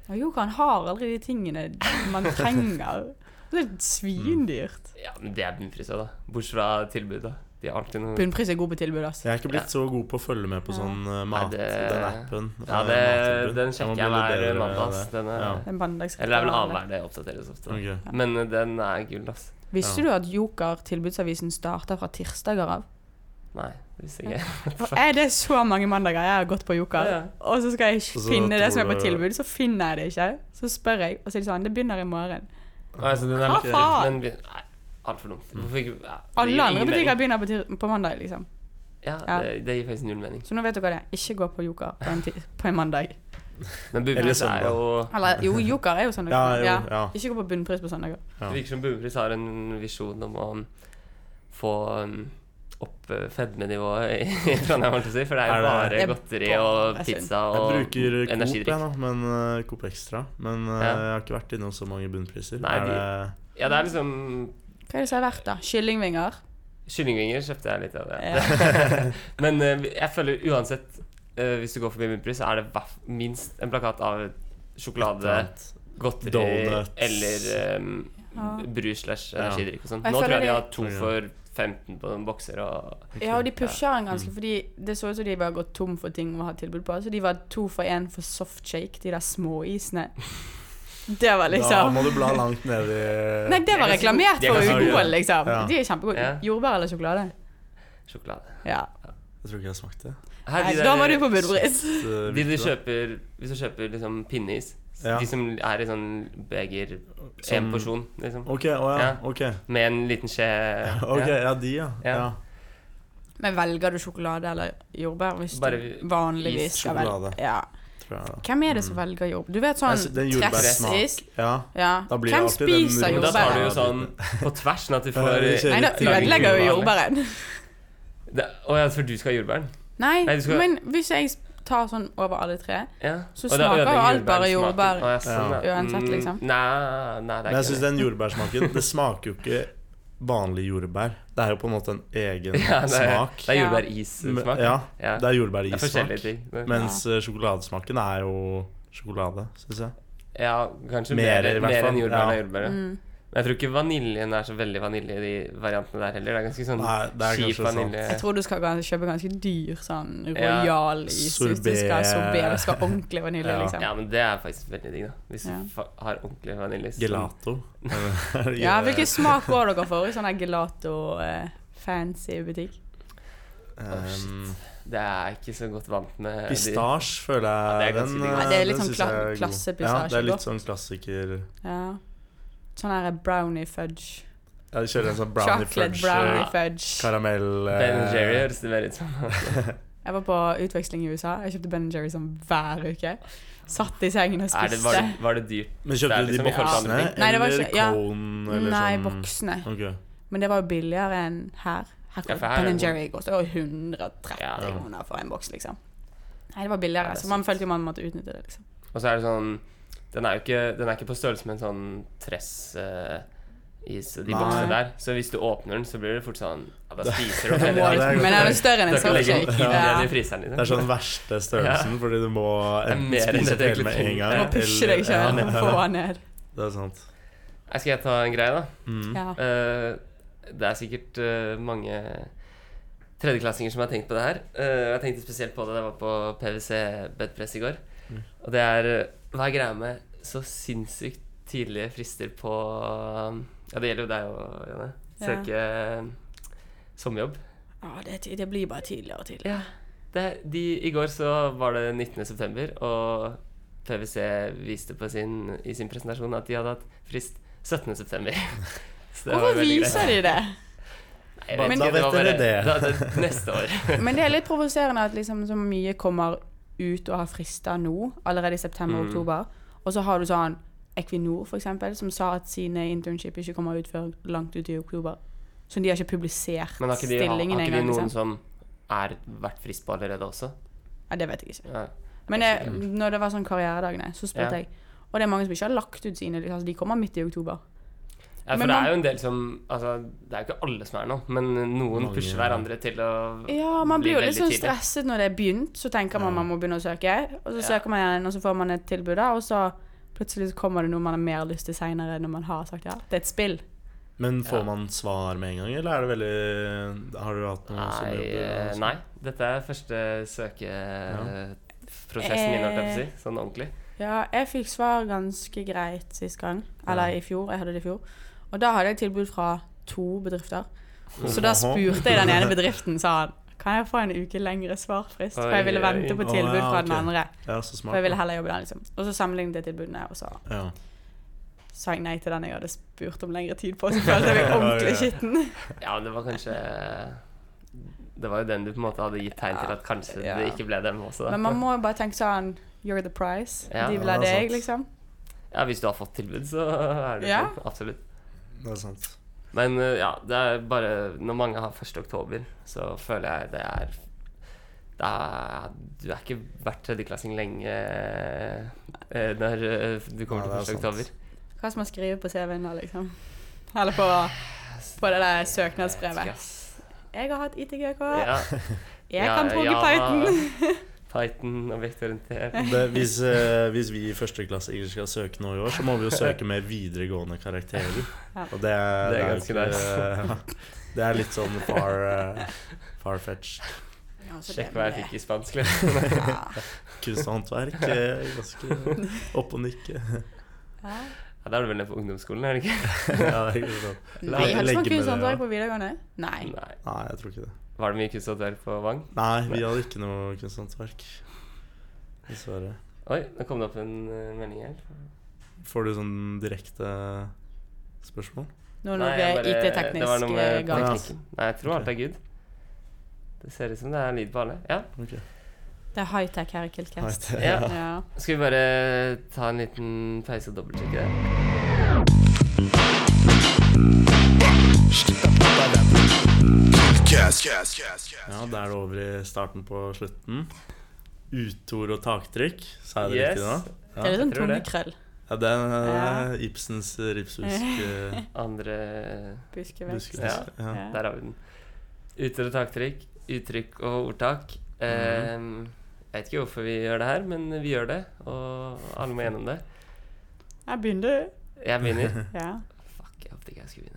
S3: Og jokeren har aldri de tingene man trenger. Det er svindyrt.
S1: Ja, men det er bunnprisa, da. Bortsett fra tilbudet. De har alltid noe
S3: Bunnpris er god på tilbud, altså.
S2: Jeg er ikke blitt så god på å følge med på sånn eh, mat,
S1: Nei, det-
S2: den appen.
S1: Ja,
S2: eh,
S1: det,
S2: mattilbud.
S1: den
S2: Jeg
S1: sjekker
S2: må bli
S1: jeg
S2: litt
S1: hver
S2: bedre
S1: mandag.
S2: med
S1: ass. Den er,
S2: Ja.
S3: En bandagsrett.
S1: Eller det er vel annenhver det oppdateres ofte. da.
S2: det. Ok.
S1: Men eh, den er gull, ass.
S3: Visste du at Joker tilbudsavisen starter fra tirsdager av?
S1: Nei, hvis ikke
S3: For er det så mange mandager jeg har gått på Joker,
S1: Ja, ja.
S3: og så skal jeg
S2: Og så
S3: finne det
S2: tror
S3: som er på
S2: du-
S3: tilbud, så finner jeg det ikke. Så spør jeg, og så er det sånn, det begynner i morgen.
S1: Nei, så den er
S3: Hva
S1: litt-
S3: faen?
S1: men vi- Nei, altfor dumt. Hvorfor ikke ja, det gir
S3: Alle andre
S1: ingen
S3: butikker
S1: mening.
S3: begynner på, tir på mandag, liksom.
S1: Ja,
S3: Ja.
S1: det, det gir faktisk null mening.
S3: Så nå vet dere det. Ikke gå på Joker på en, ti- *laughs* på en mandag.
S1: Men
S2: Eller
S1: bunnpris
S2: søndag.
S1: er jo
S3: Eller jo, Joker er jo søndag.
S2: Ja, jo, ja.
S3: Ikke gå på bunnpris på søndager.
S2: Ja.
S1: Det virker som bunnpris har en visjon om å um, få um, opp eh, fedmenivået i Trondheim, holdt jeg på å si. For det er jo
S2: Er
S1: bare
S3: det-
S1: godteri
S3: Det er
S1: og
S3: bare sunt.
S1: pizza
S2: Jeg
S1: og
S2: bruker Coop, jeg
S1: energidrikk.
S2: nå, men eh, Coop Extra. Men eh,
S1: Ja.
S2: jeg har ikke vært innom så mange bunnpriser.
S1: Nei,
S2: er
S1: de-
S2: det
S1: Ja, det er liksom
S3: Hva er det som er verdt, da? Kyllingvinger?
S1: Kyllingvinger kjøpte jeg litt av.
S3: Ja.
S1: det *laughs* Men eh, jeg føler uansett, eh, hvis du går forbi bunnpris, så er det hvert- minst en plakat av sjokolade. godteri
S2: Donuts.
S1: eller um,
S3: Ja.
S1: brus slash
S2: Ja.
S1: energidrikk og sånn.
S3: Og jeg
S1: Nå tror
S3: føler
S1: jeg de
S3: det-
S1: har to
S2: Ja.
S1: for 15 på noen bokser og
S3: Ja, og de pusher den ganske, fordi det så ut som de var gått tom for ting å ha tilbud på. Så de var to for én for softshake, de der småisene. *laughs* Det var
S2: Da
S3: liksom
S2: må du bla langt ned i
S3: Nei, det var
S1: De er ganske
S3: reklamert
S1: gode. De
S3: for
S1: er
S2: ganske
S3: Ugoen,
S2: gode.
S3: liksom.
S2: Ja.
S3: De er kjempegode.
S1: Ja.
S3: Jordbær eller sjokolade?
S1: sjokolade.
S3: Ja.
S2: Jeg tror ikke jeg
S1: *laughs*
S2: smakte det.
S1: Her,
S3: Nei,
S1: de
S3: da
S1: der-
S3: var du på bunnpris. *laughs*
S2: Så
S1: De du
S2: viktig, da.
S1: kjøper Hvis du kjøper liksom pinneis
S2: Ja.
S1: De som er i sånn beger
S2: Som-
S1: En porsjon, liksom.
S2: Ok, å ja.
S1: Ja.
S2: Ok.
S1: Med en liten skje
S2: *laughs* Ok,
S1: ja.
S2: ja, de, ja.
S1: Ja.
S2: ja.
S3: Men velger du sjokolade eller jordbær hvis
S1: Bare
S3: du vanligvis
S1: is,
S3: skal velge?
S2: sjokolade.
S3: Ja.
S2: Tror jeg. da.
S3: Hvem er det som velger jordbær? Du vet sånn
S2: Jeg sy- Altså, den jordbærsmak.
S3: tressis?
S2: Ja.
S3: Ja.
S2: Da blir det
S3: Hvem
S2: alltid den
S3: spiser
S1: Men da tar du
S3: jordbær?
S1: jo sånn på tvers sånn at du
S2: Ja,
S1: får
S2: det
S3: Nei, da
S2: Lang
S3: ødelegger jo
S1: kurve, eller?
S3: jordbæren.
S1: Det- Å ja, for du skal ha jordbæren?
S3: Nei,
S1: Nei, du skal-
S3: men hvis jeg tar sånn over alle tre
S1: Ja.
S3: Så
S1: Og da
S3: smaker jo
S1: ødelegger
S3: alt bare
S1: jordbærsmaken. Å,
S3: jordbær,
S1: ja, sånn, ja.
S3: uansett, liksom.
S1: Mm, Nei, nei, det
S2: Men
S1: er
S2: jeg
S1: ikke
S2: syns
S1: det.
S2: den jordbærsmaken Det smaker jo ikke vanlig jordbær. Det er jo på en måte en egen
S1: *laughs* Ja, det er,
S2: smak.
S1: Det er
S3: Ja.
S1: jordbærissmak.
S2: Ja,
S1: Ja.
S2: det er
S1: Det er
S2: jordbærissmak.
S1: forskjellige ting. men-
S2: Mens eh, sjokoladesmaken er jo sjokolade, syns jeg.
S1: Ja, kanskje
S2: Mer,
S1: mer,
S2: i hvert
S1: mer
S2: fall.
S1: enn jordbær
S2: Ja.
S1: er jordbær. ja.
S3: Mm.
S1: Men jeg tror ikke vaniljen er så veldig vanilje i de variantene der heller. Det er ganske sånn
S2: Nei, det er
S1: kjip
S2: kanskje sant.
S1: vanilje.
S3: Jeg tror du skal gans- kjøpe ganske dyr sånn
S1: Ja.
S3: royal is hvis du skal ha
S2: Sorbet.
S3: sorbet. Det skal være ordentlig vanilje,
S2: Ja.
S3: liksom.
S1: Ja, men det er faktisk veldig digg, da. Hvis
S3: Ja.
S1: du fa har ordentlig vanilje. så- *laughs*
S2: Gelato.
S3: Ja, Hvilken smak går dere for i sånn her gelato eh, fancy eh, butikk?
S1: Å, shit.
S2: Um,
S1: Det er jeg ikke så godt vant med. de-
S2: pistasje føler
S1: Ja, det er
S2: jeg
S1: ganske digg.
S2: eh,
S3: Ja, det er
S2: den
S3: litt sånn
S2: synes
S3: kla-
S2: jeg er god.
S3: klassepistasje
S2: Ja, det er
S3: godt.
S2: litt sånn klassiker
S3: Ja. Sånn her brownie fudge.
S2: Ja, de kjører en sånn brownie
S3: Chocolate
S2: fudge,
S3: brownie
S2: eh,
S3: fudge.
S2: karamell eh,
S1: Ben Jerry høres det mer ut som.
S3: *laughs* Jeg var på utveksling i USA. Jeg kjøpte Ben Jerry sånn hver uke. Satt i sengen og
S1: Er det,
S3: spiste.
S1: var, det- var det dyrt?
S2: Men
S1: Det
S2: kjøpte
S1: er
S2: du
S1: liksom
S2: de
S1: i alle
S2: boksene
S1: andre ting.
S3: Nei, det var
S2: eller
S3: ikke- ja.
S2: cone? Eller
S3: Nei,
S2: sånn?
S3: voksne.
S2: Ok.
S3: Men det var jo billigere enn her.
S1: Ja,
S3: Her kom
S1: for her er
S3: Ben
S1: det-
S3: Jerry koster jo 130
S1: Ja.
S3: kroner for en boks, liksom. Nei, det var
S1: Ja,
S3: billigere,
S1: det er
S3: så man
S1: sant.
S3: følte jo man måtte utnytte det, liksom.
S1: Og så er det sånn Den er jo ikke, den er ikke på størrelse med en sånn tress eh, i s- de
S2: Nei.
S1: boksene der. Så hvis du åpner den, så blir det fort sånn *laughs* Ja, da
S3: *laughs*
S1: spiser du opp
S2: Ja,
S1: hele
S3: Men
S2: det er
S1: den.
S2: godt.
S3: den er jo større enn
S1: Du
S3: en
S1: kan legge den
S3: softshake.
S1: inn igjen
S3: Ja.
S1: i fryseren,
S2: Det er
S1: liksom.
S2: sånn verste størrelsen, fordi du må enten
S1: mer enn
S2: spise
S1: det
S2: opp hele med
S1: egentlig
S2: en
S1: trenger.
S2: gang.
S3: Du må pushe
S2: eller-
S3: deg sjøl
S2: Ja,
S3: og få den ned.
S2: Det er sant.
S1: Nei, Skal jeg ta en greie, da?
S2: Mm.
S3: Ja.
S1: Eh, det er sikkert eh, mange tredjeklassinger som har tenkt på det her. Eh, jeg tenkte spesielt på det da jeg var på PwC bedpress i går. Og det er eh, Hva er greia med så sinnssykt tidlige frister på eh, Ja, det gjelder jo deg òg, Janne.
S3: Ja.
S1: Søke eh, sommerjobb.
S3: Ja, det, er ti- det blir bare tidligere og tidligere.
S1: Ja. Det, de, I går så var det 19. september, og PwC viste på sin, i sin presentasjon at de hadde hatt frist 17. september. *laughs* Så det var
S3: Hvorfor
S1: veldig greit.
S3: viser de det?
S1: Jeg
S3: Men-
S1: ikke,
S2: Da
S1: var
S2: vet dere
S1: bare-
S2: det.
S1: Da, det neste
S2: *laughs*
S1: år.
S3: Men det er litt provoserende at liksom så mye kommer ut og har frister nå, allerede i september og
S1: Mm.
S3: oktober. Og så har du sånn Equinor, for eksempel, som sa at sine internship ikke kommer ut før langt ut i oktober. Så de har ikke publisert
S1: Men har ikke de, har,
S3: stillingen
S1: har ikke de
S3: engang.
S1: noen
S3: Liksom.
S1: som er vært frist på allerede også? sånn-
S3: Ja, det vet jeg ikke.
S1: Ja.
S3: Men jeg, når det var sånn karrieredagene, så spurte
S1: Mm. Ja.
S3: jeg. Og det er mange som ikke har lagt ut sine. Altså, de kommer midt i oktober.
S1: Ja, for
S3: Men
S1: det
S3: man-
S1: er jo en del som altså, Det er jo ikke alle som er nå, men noen
S2: Mange,
S1: pusher
S2: ja.
S1: hverandre til å
S3: Ja, man
S1: bli
S3: blir jo litt
S1: veldig
S3: sånn
S1: tidlig.
S3: stresset når det er begynt, så tenker man man må begynne å søke, og så
S1: Ja.
S3: søker man igjen, og så får man et tilbud, da, og så plutselig så kommer det noe man har mer lyst til seinere når man har sagt ja. Det er et spill.
S2: Men får
S1: Ja.
S2: man svar med en gang, eller er det veldig Har du hatt noen
S1: Nei,
S2: sommerjobber?
S1: eh,
S2: og sånn?
S1: nei. Dette er første søkeprosessen min, holdt jeg
S3: Eh.
S1: på å si. Sånn ordentlig.
S3: Ja, jeg fikk svar ganske greit sist gang, eller
S2: Ja.
S3: i fjor, jeg hadde det i fjor, og da hadde jeg tilbud fra to bedrifter. Så da
S2: Ohoho.
S3: spurte jeg den ene bedriften, sa han, kan jeg få en uke lengre svarfrist? For jeg
S1: Oi,
S3: ville vente
S1: oi.
S3: på
S2: Å,
S3: tilbud
S2: ja,
S3: fra den
S2: ok.
S3: andre,
S2: Ja, så smart.
S3: for jeg ville
S2: da.
S3: heller jobbe der, liksom. Og så sammenlignet jeg tilbudene, og så
S2: ja.
S3: sa jeg nei til den jeg hadde spurt om lengre tid på.
S1: *laughs*
S3: Så følte jeg meg ordentlig skitten.
S1: Ja, men det var kanskje Det var jo den du på en måte hadde gitt tegn til at kanskje
S3: Ja.
S1: det ikke ble dem også.
S3: Men
S1: Da.
S3: man må jo bare tenke sånn You're the prize.
S1: Ja,
S3: De vil ha
S2: ja,
S3: deg,
S2: sant.
S3: liksom.
S1: Ja, hvis du har fått tilbud, så er det jo
S3: Ja.
S1: sånn. Absolutt.
S2: Det er sant.
S1: Men eh, ja, det er bare Når mange har 1. oktober, så føler jeg det er da, Du er ikke vært tredjeklassing lenge eh, når eh, du kommer
S2: Nei,
S1: til 1.
S2: det er sant.
S1: oktober.
S3: Hva skal man skrive på CV-en da, liksom? Eller på, på det der
S1: Jeg vet ikke,
S3: søknadsbrevet.
S1: ass.
S3: Jeg har hatt ITGK.
S1: Ja,
S3: Jeg
S1: ja,
S3: kan plugge
S1: Java.
S3: Python.
S1: *laughs* Python,
S3: *laughs*
S1: objektorientert
S2: Det, hvis, eh, hvis vi i førsteklassinger skal søke nå i år, så må vi jo søke med videregående karakterer.
S3: Ja.
S2: Og det, er-
S1: Det er
S2: jo
S1: ganske
S2: ikke-
S1: nice.
S2: ja. *laughs* Det er litt sånn far, eh, far-fetched.
S1: Sjekk hva jeg fikk i spansk. liksom. *laughs*
S3: Ja.
S2: Kunst og håndverk. eh, Ganske opp og nikke. *laughs*
S3: Ja.
S1: Ja, da er du vel nede på ungdomsskolen, er det ikke?
S2: ja, det er ikke sant. La-
S3: Nei,
S2: legge
S3: hadde ikke man
S2: med det,
S3: kunst og
S2: ja.
S3: håndverk på videregående? Nei.
S1: Nei.
S2: Nei, jeg tror ikke det.
S1: Var det mye kunst og håndverk på Vang?
S2: Nei, vi hadde ikke noe kunst og håndverk. Dessverre.
S1: Oi, nå kom det opp en eh, melding her.
S2: Får du sånn direkte spørsmål?
S3: Nå er
S1: Nei,
S3: det
S1: jeg bare-
S3: noe
S1: det var noe
S3: IT-teknisk eh,
S1: med
S3: gang.
S2: Ja.
S1: teknikken. Nei, jeg tror alt er good. Det ser ut som det er lyd på alle. Ja.
S2: Ok.
S3: Det er high-tech her i
S2: Nei,
S3: Kiltcast.
S2: det-
S1: Ja.
S3: Ja.
S1: Skal vi bare ta en liten pause og dobbeltsjekke det?
S4: Cast, cast, cast, cast.
S2: Ja, da er det over i starten på slutten. Utord og taktrykk, sa jeg det
S1: Yes.
S2: riktig nå?
S3: Det er litt sånn
S1: jeg tror det.
S3: tungekrøll.
S2: Ja, det er eh,
S3: Ja. *laughs*
S2: Ibsens ripshusk eh,
S1: Andre
S3: Buskevekst.
S2: buskevekst.
S1: Ja.
S2: Ja.
S1: Der har vi den. Utord og taktrykk. Uttrykk og ordtak. Eh, jeg vet ikke hvorfor vi gjør det her, men vi gjør det. Og alle må gjennom det.
S3: Jeg begynner.
S1: Jeg
S2: *laughs*
S1: begynner.
S3: Ja.
S1: Fuck, jeg håpet ikke jeg skulle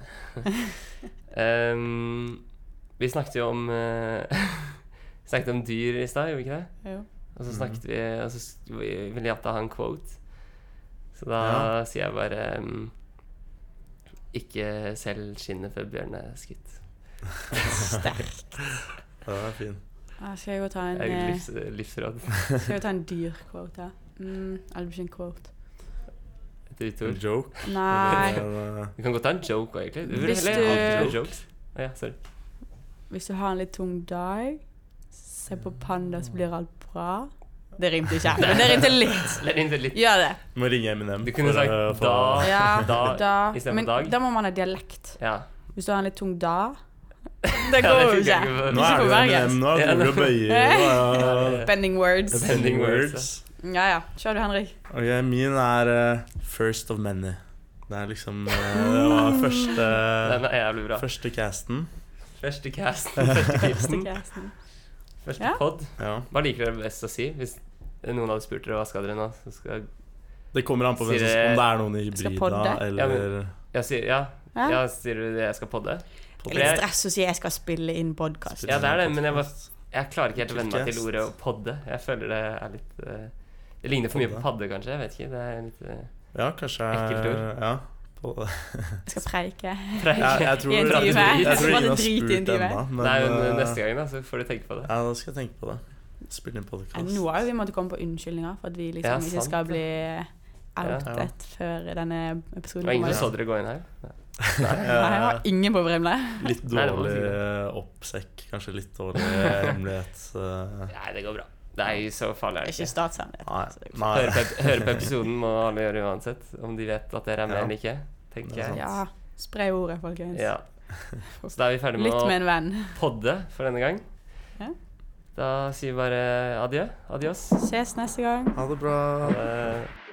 S1: *laughs* begynne. um, vi snakket jo om eh, *laughs* Vi snakket om dyr i stad, gjorde vi ikke det?
S3: Jo.
S1: Og så
S2: Mhm.
S1: snakket vi Og så s- vi- ville Jatta ha en quote. Så da
S2: Ja.
S1: sier jeg bare um, Ikke selg skinnet før bjørnen er skutt.
S3: Sterkt.
S2: Ja, den er fin.
S3: Ah, Skal jeg gå og ta en,
S1: Det er jo
S3: eh,
S1: livs, livsråd.
S3: skal jeg gå og ta en dyr quote her? Mm, eller ikke en
S1: *laughs*
S3: quote.
S1: Et ditt
S2: En
S1: ord.
S2: joke.
S3: Nei.
S2: Men, eh,
S1: Du kan godt ta en joke òg, egentlig. Du
S3: Hvis
S1: burde heller
S2: du-
S1: ha jokes. Å Ja, sorry.
S3: Hvis du har en litt tung dag, se på panda, så blir alt bra. Det rimte ikke, men det rimte
S1: *laughs*
S3: litt.
S1: Legg inn det litt.
S3: Gjør det.
S2: må ringe Eminem.
S1: Du kunne
S2: for å
S1: sagt
S2: få-
S1: da
S3: Ja,
S1: Ah, Da
S3: da.
S1: i stedet for
S3: Men
S1: dag.
S3: da må man ha dialekt.
S1: Ja.
S3: Hvis du har en litt tung da
S1: *laughs*
S3: Det
S1: Ja,
S3: går jo
S1: funker
S3: ikke.
S1: for-
S2: Nå
S3: Ikke
S2: er
S3: på
S2: du
S3: berget.
S2: Eminem, nå
S1: Ja,
S2: driver du og
S3: *laughs*
S2: eh, bøyer.
S1: eh,
S2: og-
S3: Bending words.
S1: Sending words, altså.
S3: Ja ja. Kjør du, Henrik.
S2: Ok, min er eh, First of Many. Det er liksom eh,
S3: *laughs*
S2: Det var første,
S1: Den er jævlig bra.
S2: første casten.
S1: Første
S2: *laughs*
S1: casten, første
S3: Første
S1: clipsen, *laughs*
S3: casten.
S1: første
S3: Ja.
S1: pod.
S2: Ja.
S1: Hva liker dere best å si? Hvis noen hadde spurt dere hva skal dere nå, så skal
S2: Det kommer an på hvem
S1: Sier
S2: som,
S1: det-
S2: om det er noen i
S3: Skal
S2: hybrida
S3: podde?
S1: Ja,
S2: eller
S1: men- jeg sier, ja,
S3: Hæ?
S1: ja, sier du det jeg skal podde?
S3: Det er litt stress å si jeg skal spille inn podkast.
S1: Ja, det er det, men jeg bare Jeg klarer ikke helt å venne meg til
S2: Podcast.
S1: ordet å podde. Jeg føler det er litt eh, Det ligner for mye på
S2: Podde.
S1: padde, kanskje. Jeg vet ikke. Det er litt eh,
S2: Ja, kanskje
S1: Ekkelt ord.
S2: Ja.
S1: *laughs*
S2: På,
S3: Jeg skal preike.
S1: preik.
S2: ja, jeg
S1: *laughs*
S2: tror,
S3: I
S2: jeg
S3: en
S2: tror
S1: drive.
S2: ingen
S3: Bare
S2: har
S3: drit i en
S2: spurt
S3: drive.
S2: ennå. men,
S1: Nei, men
S2: eh,
S1: neste gang, da, så får du tenke på det.
S2: Ja, da skal jeg tenke på det. Spille inn
S3: Ja, Nå
S2: podkast.
S3: har jo vi måttet komme på unnskyldninger for at vi liksom
S1: Ja,
S3: ikke
S1: sant
S3: skal
S1: det.
S3: bli
S2: Ja.
S3: outet før denne
S1: Det
S3: episoden
S1: var ingen
S3: kommer.
S1: som så dere gå inn her. Ja.
S3: Nei, jeg har ingen problemer med det.
S2: eh, Litt
S1: Nei, det var
S2: dårlig
S1: fint,
S2: eh, oppsekk, kanskje litt dårlig hemmelighet.
S1: *laughs*
S2: eh,
S1: Nei, det går bra. Det er jo så farlig,
S3: Det
S1: er
S3: er
S1: det
S3: Ikke
S1: ikke.
S3: statshemmelighet. så det er jo
S2: Nei.
S1: Høre på, ep- høre på episoden må alle gjøre uansett, om de vet at dere er med
S2: Ja.
S1: eller ikke.
S2: Det
S1: Tenker
S2: er
S3: ikke-
S1: jeg.
S2: sant.
S3: Ja, spre ordet, folkens.
S1: Ja. Så da er vi ferdig med
S3: Lytt
S1: å
S3: med en venn.
S1: podde for denne gang.
S3: Ja.
S1: Da sier vi bare adjø. Adios.
S3: Ses neste gang.
S2: Ha det bra.
S1: Eh,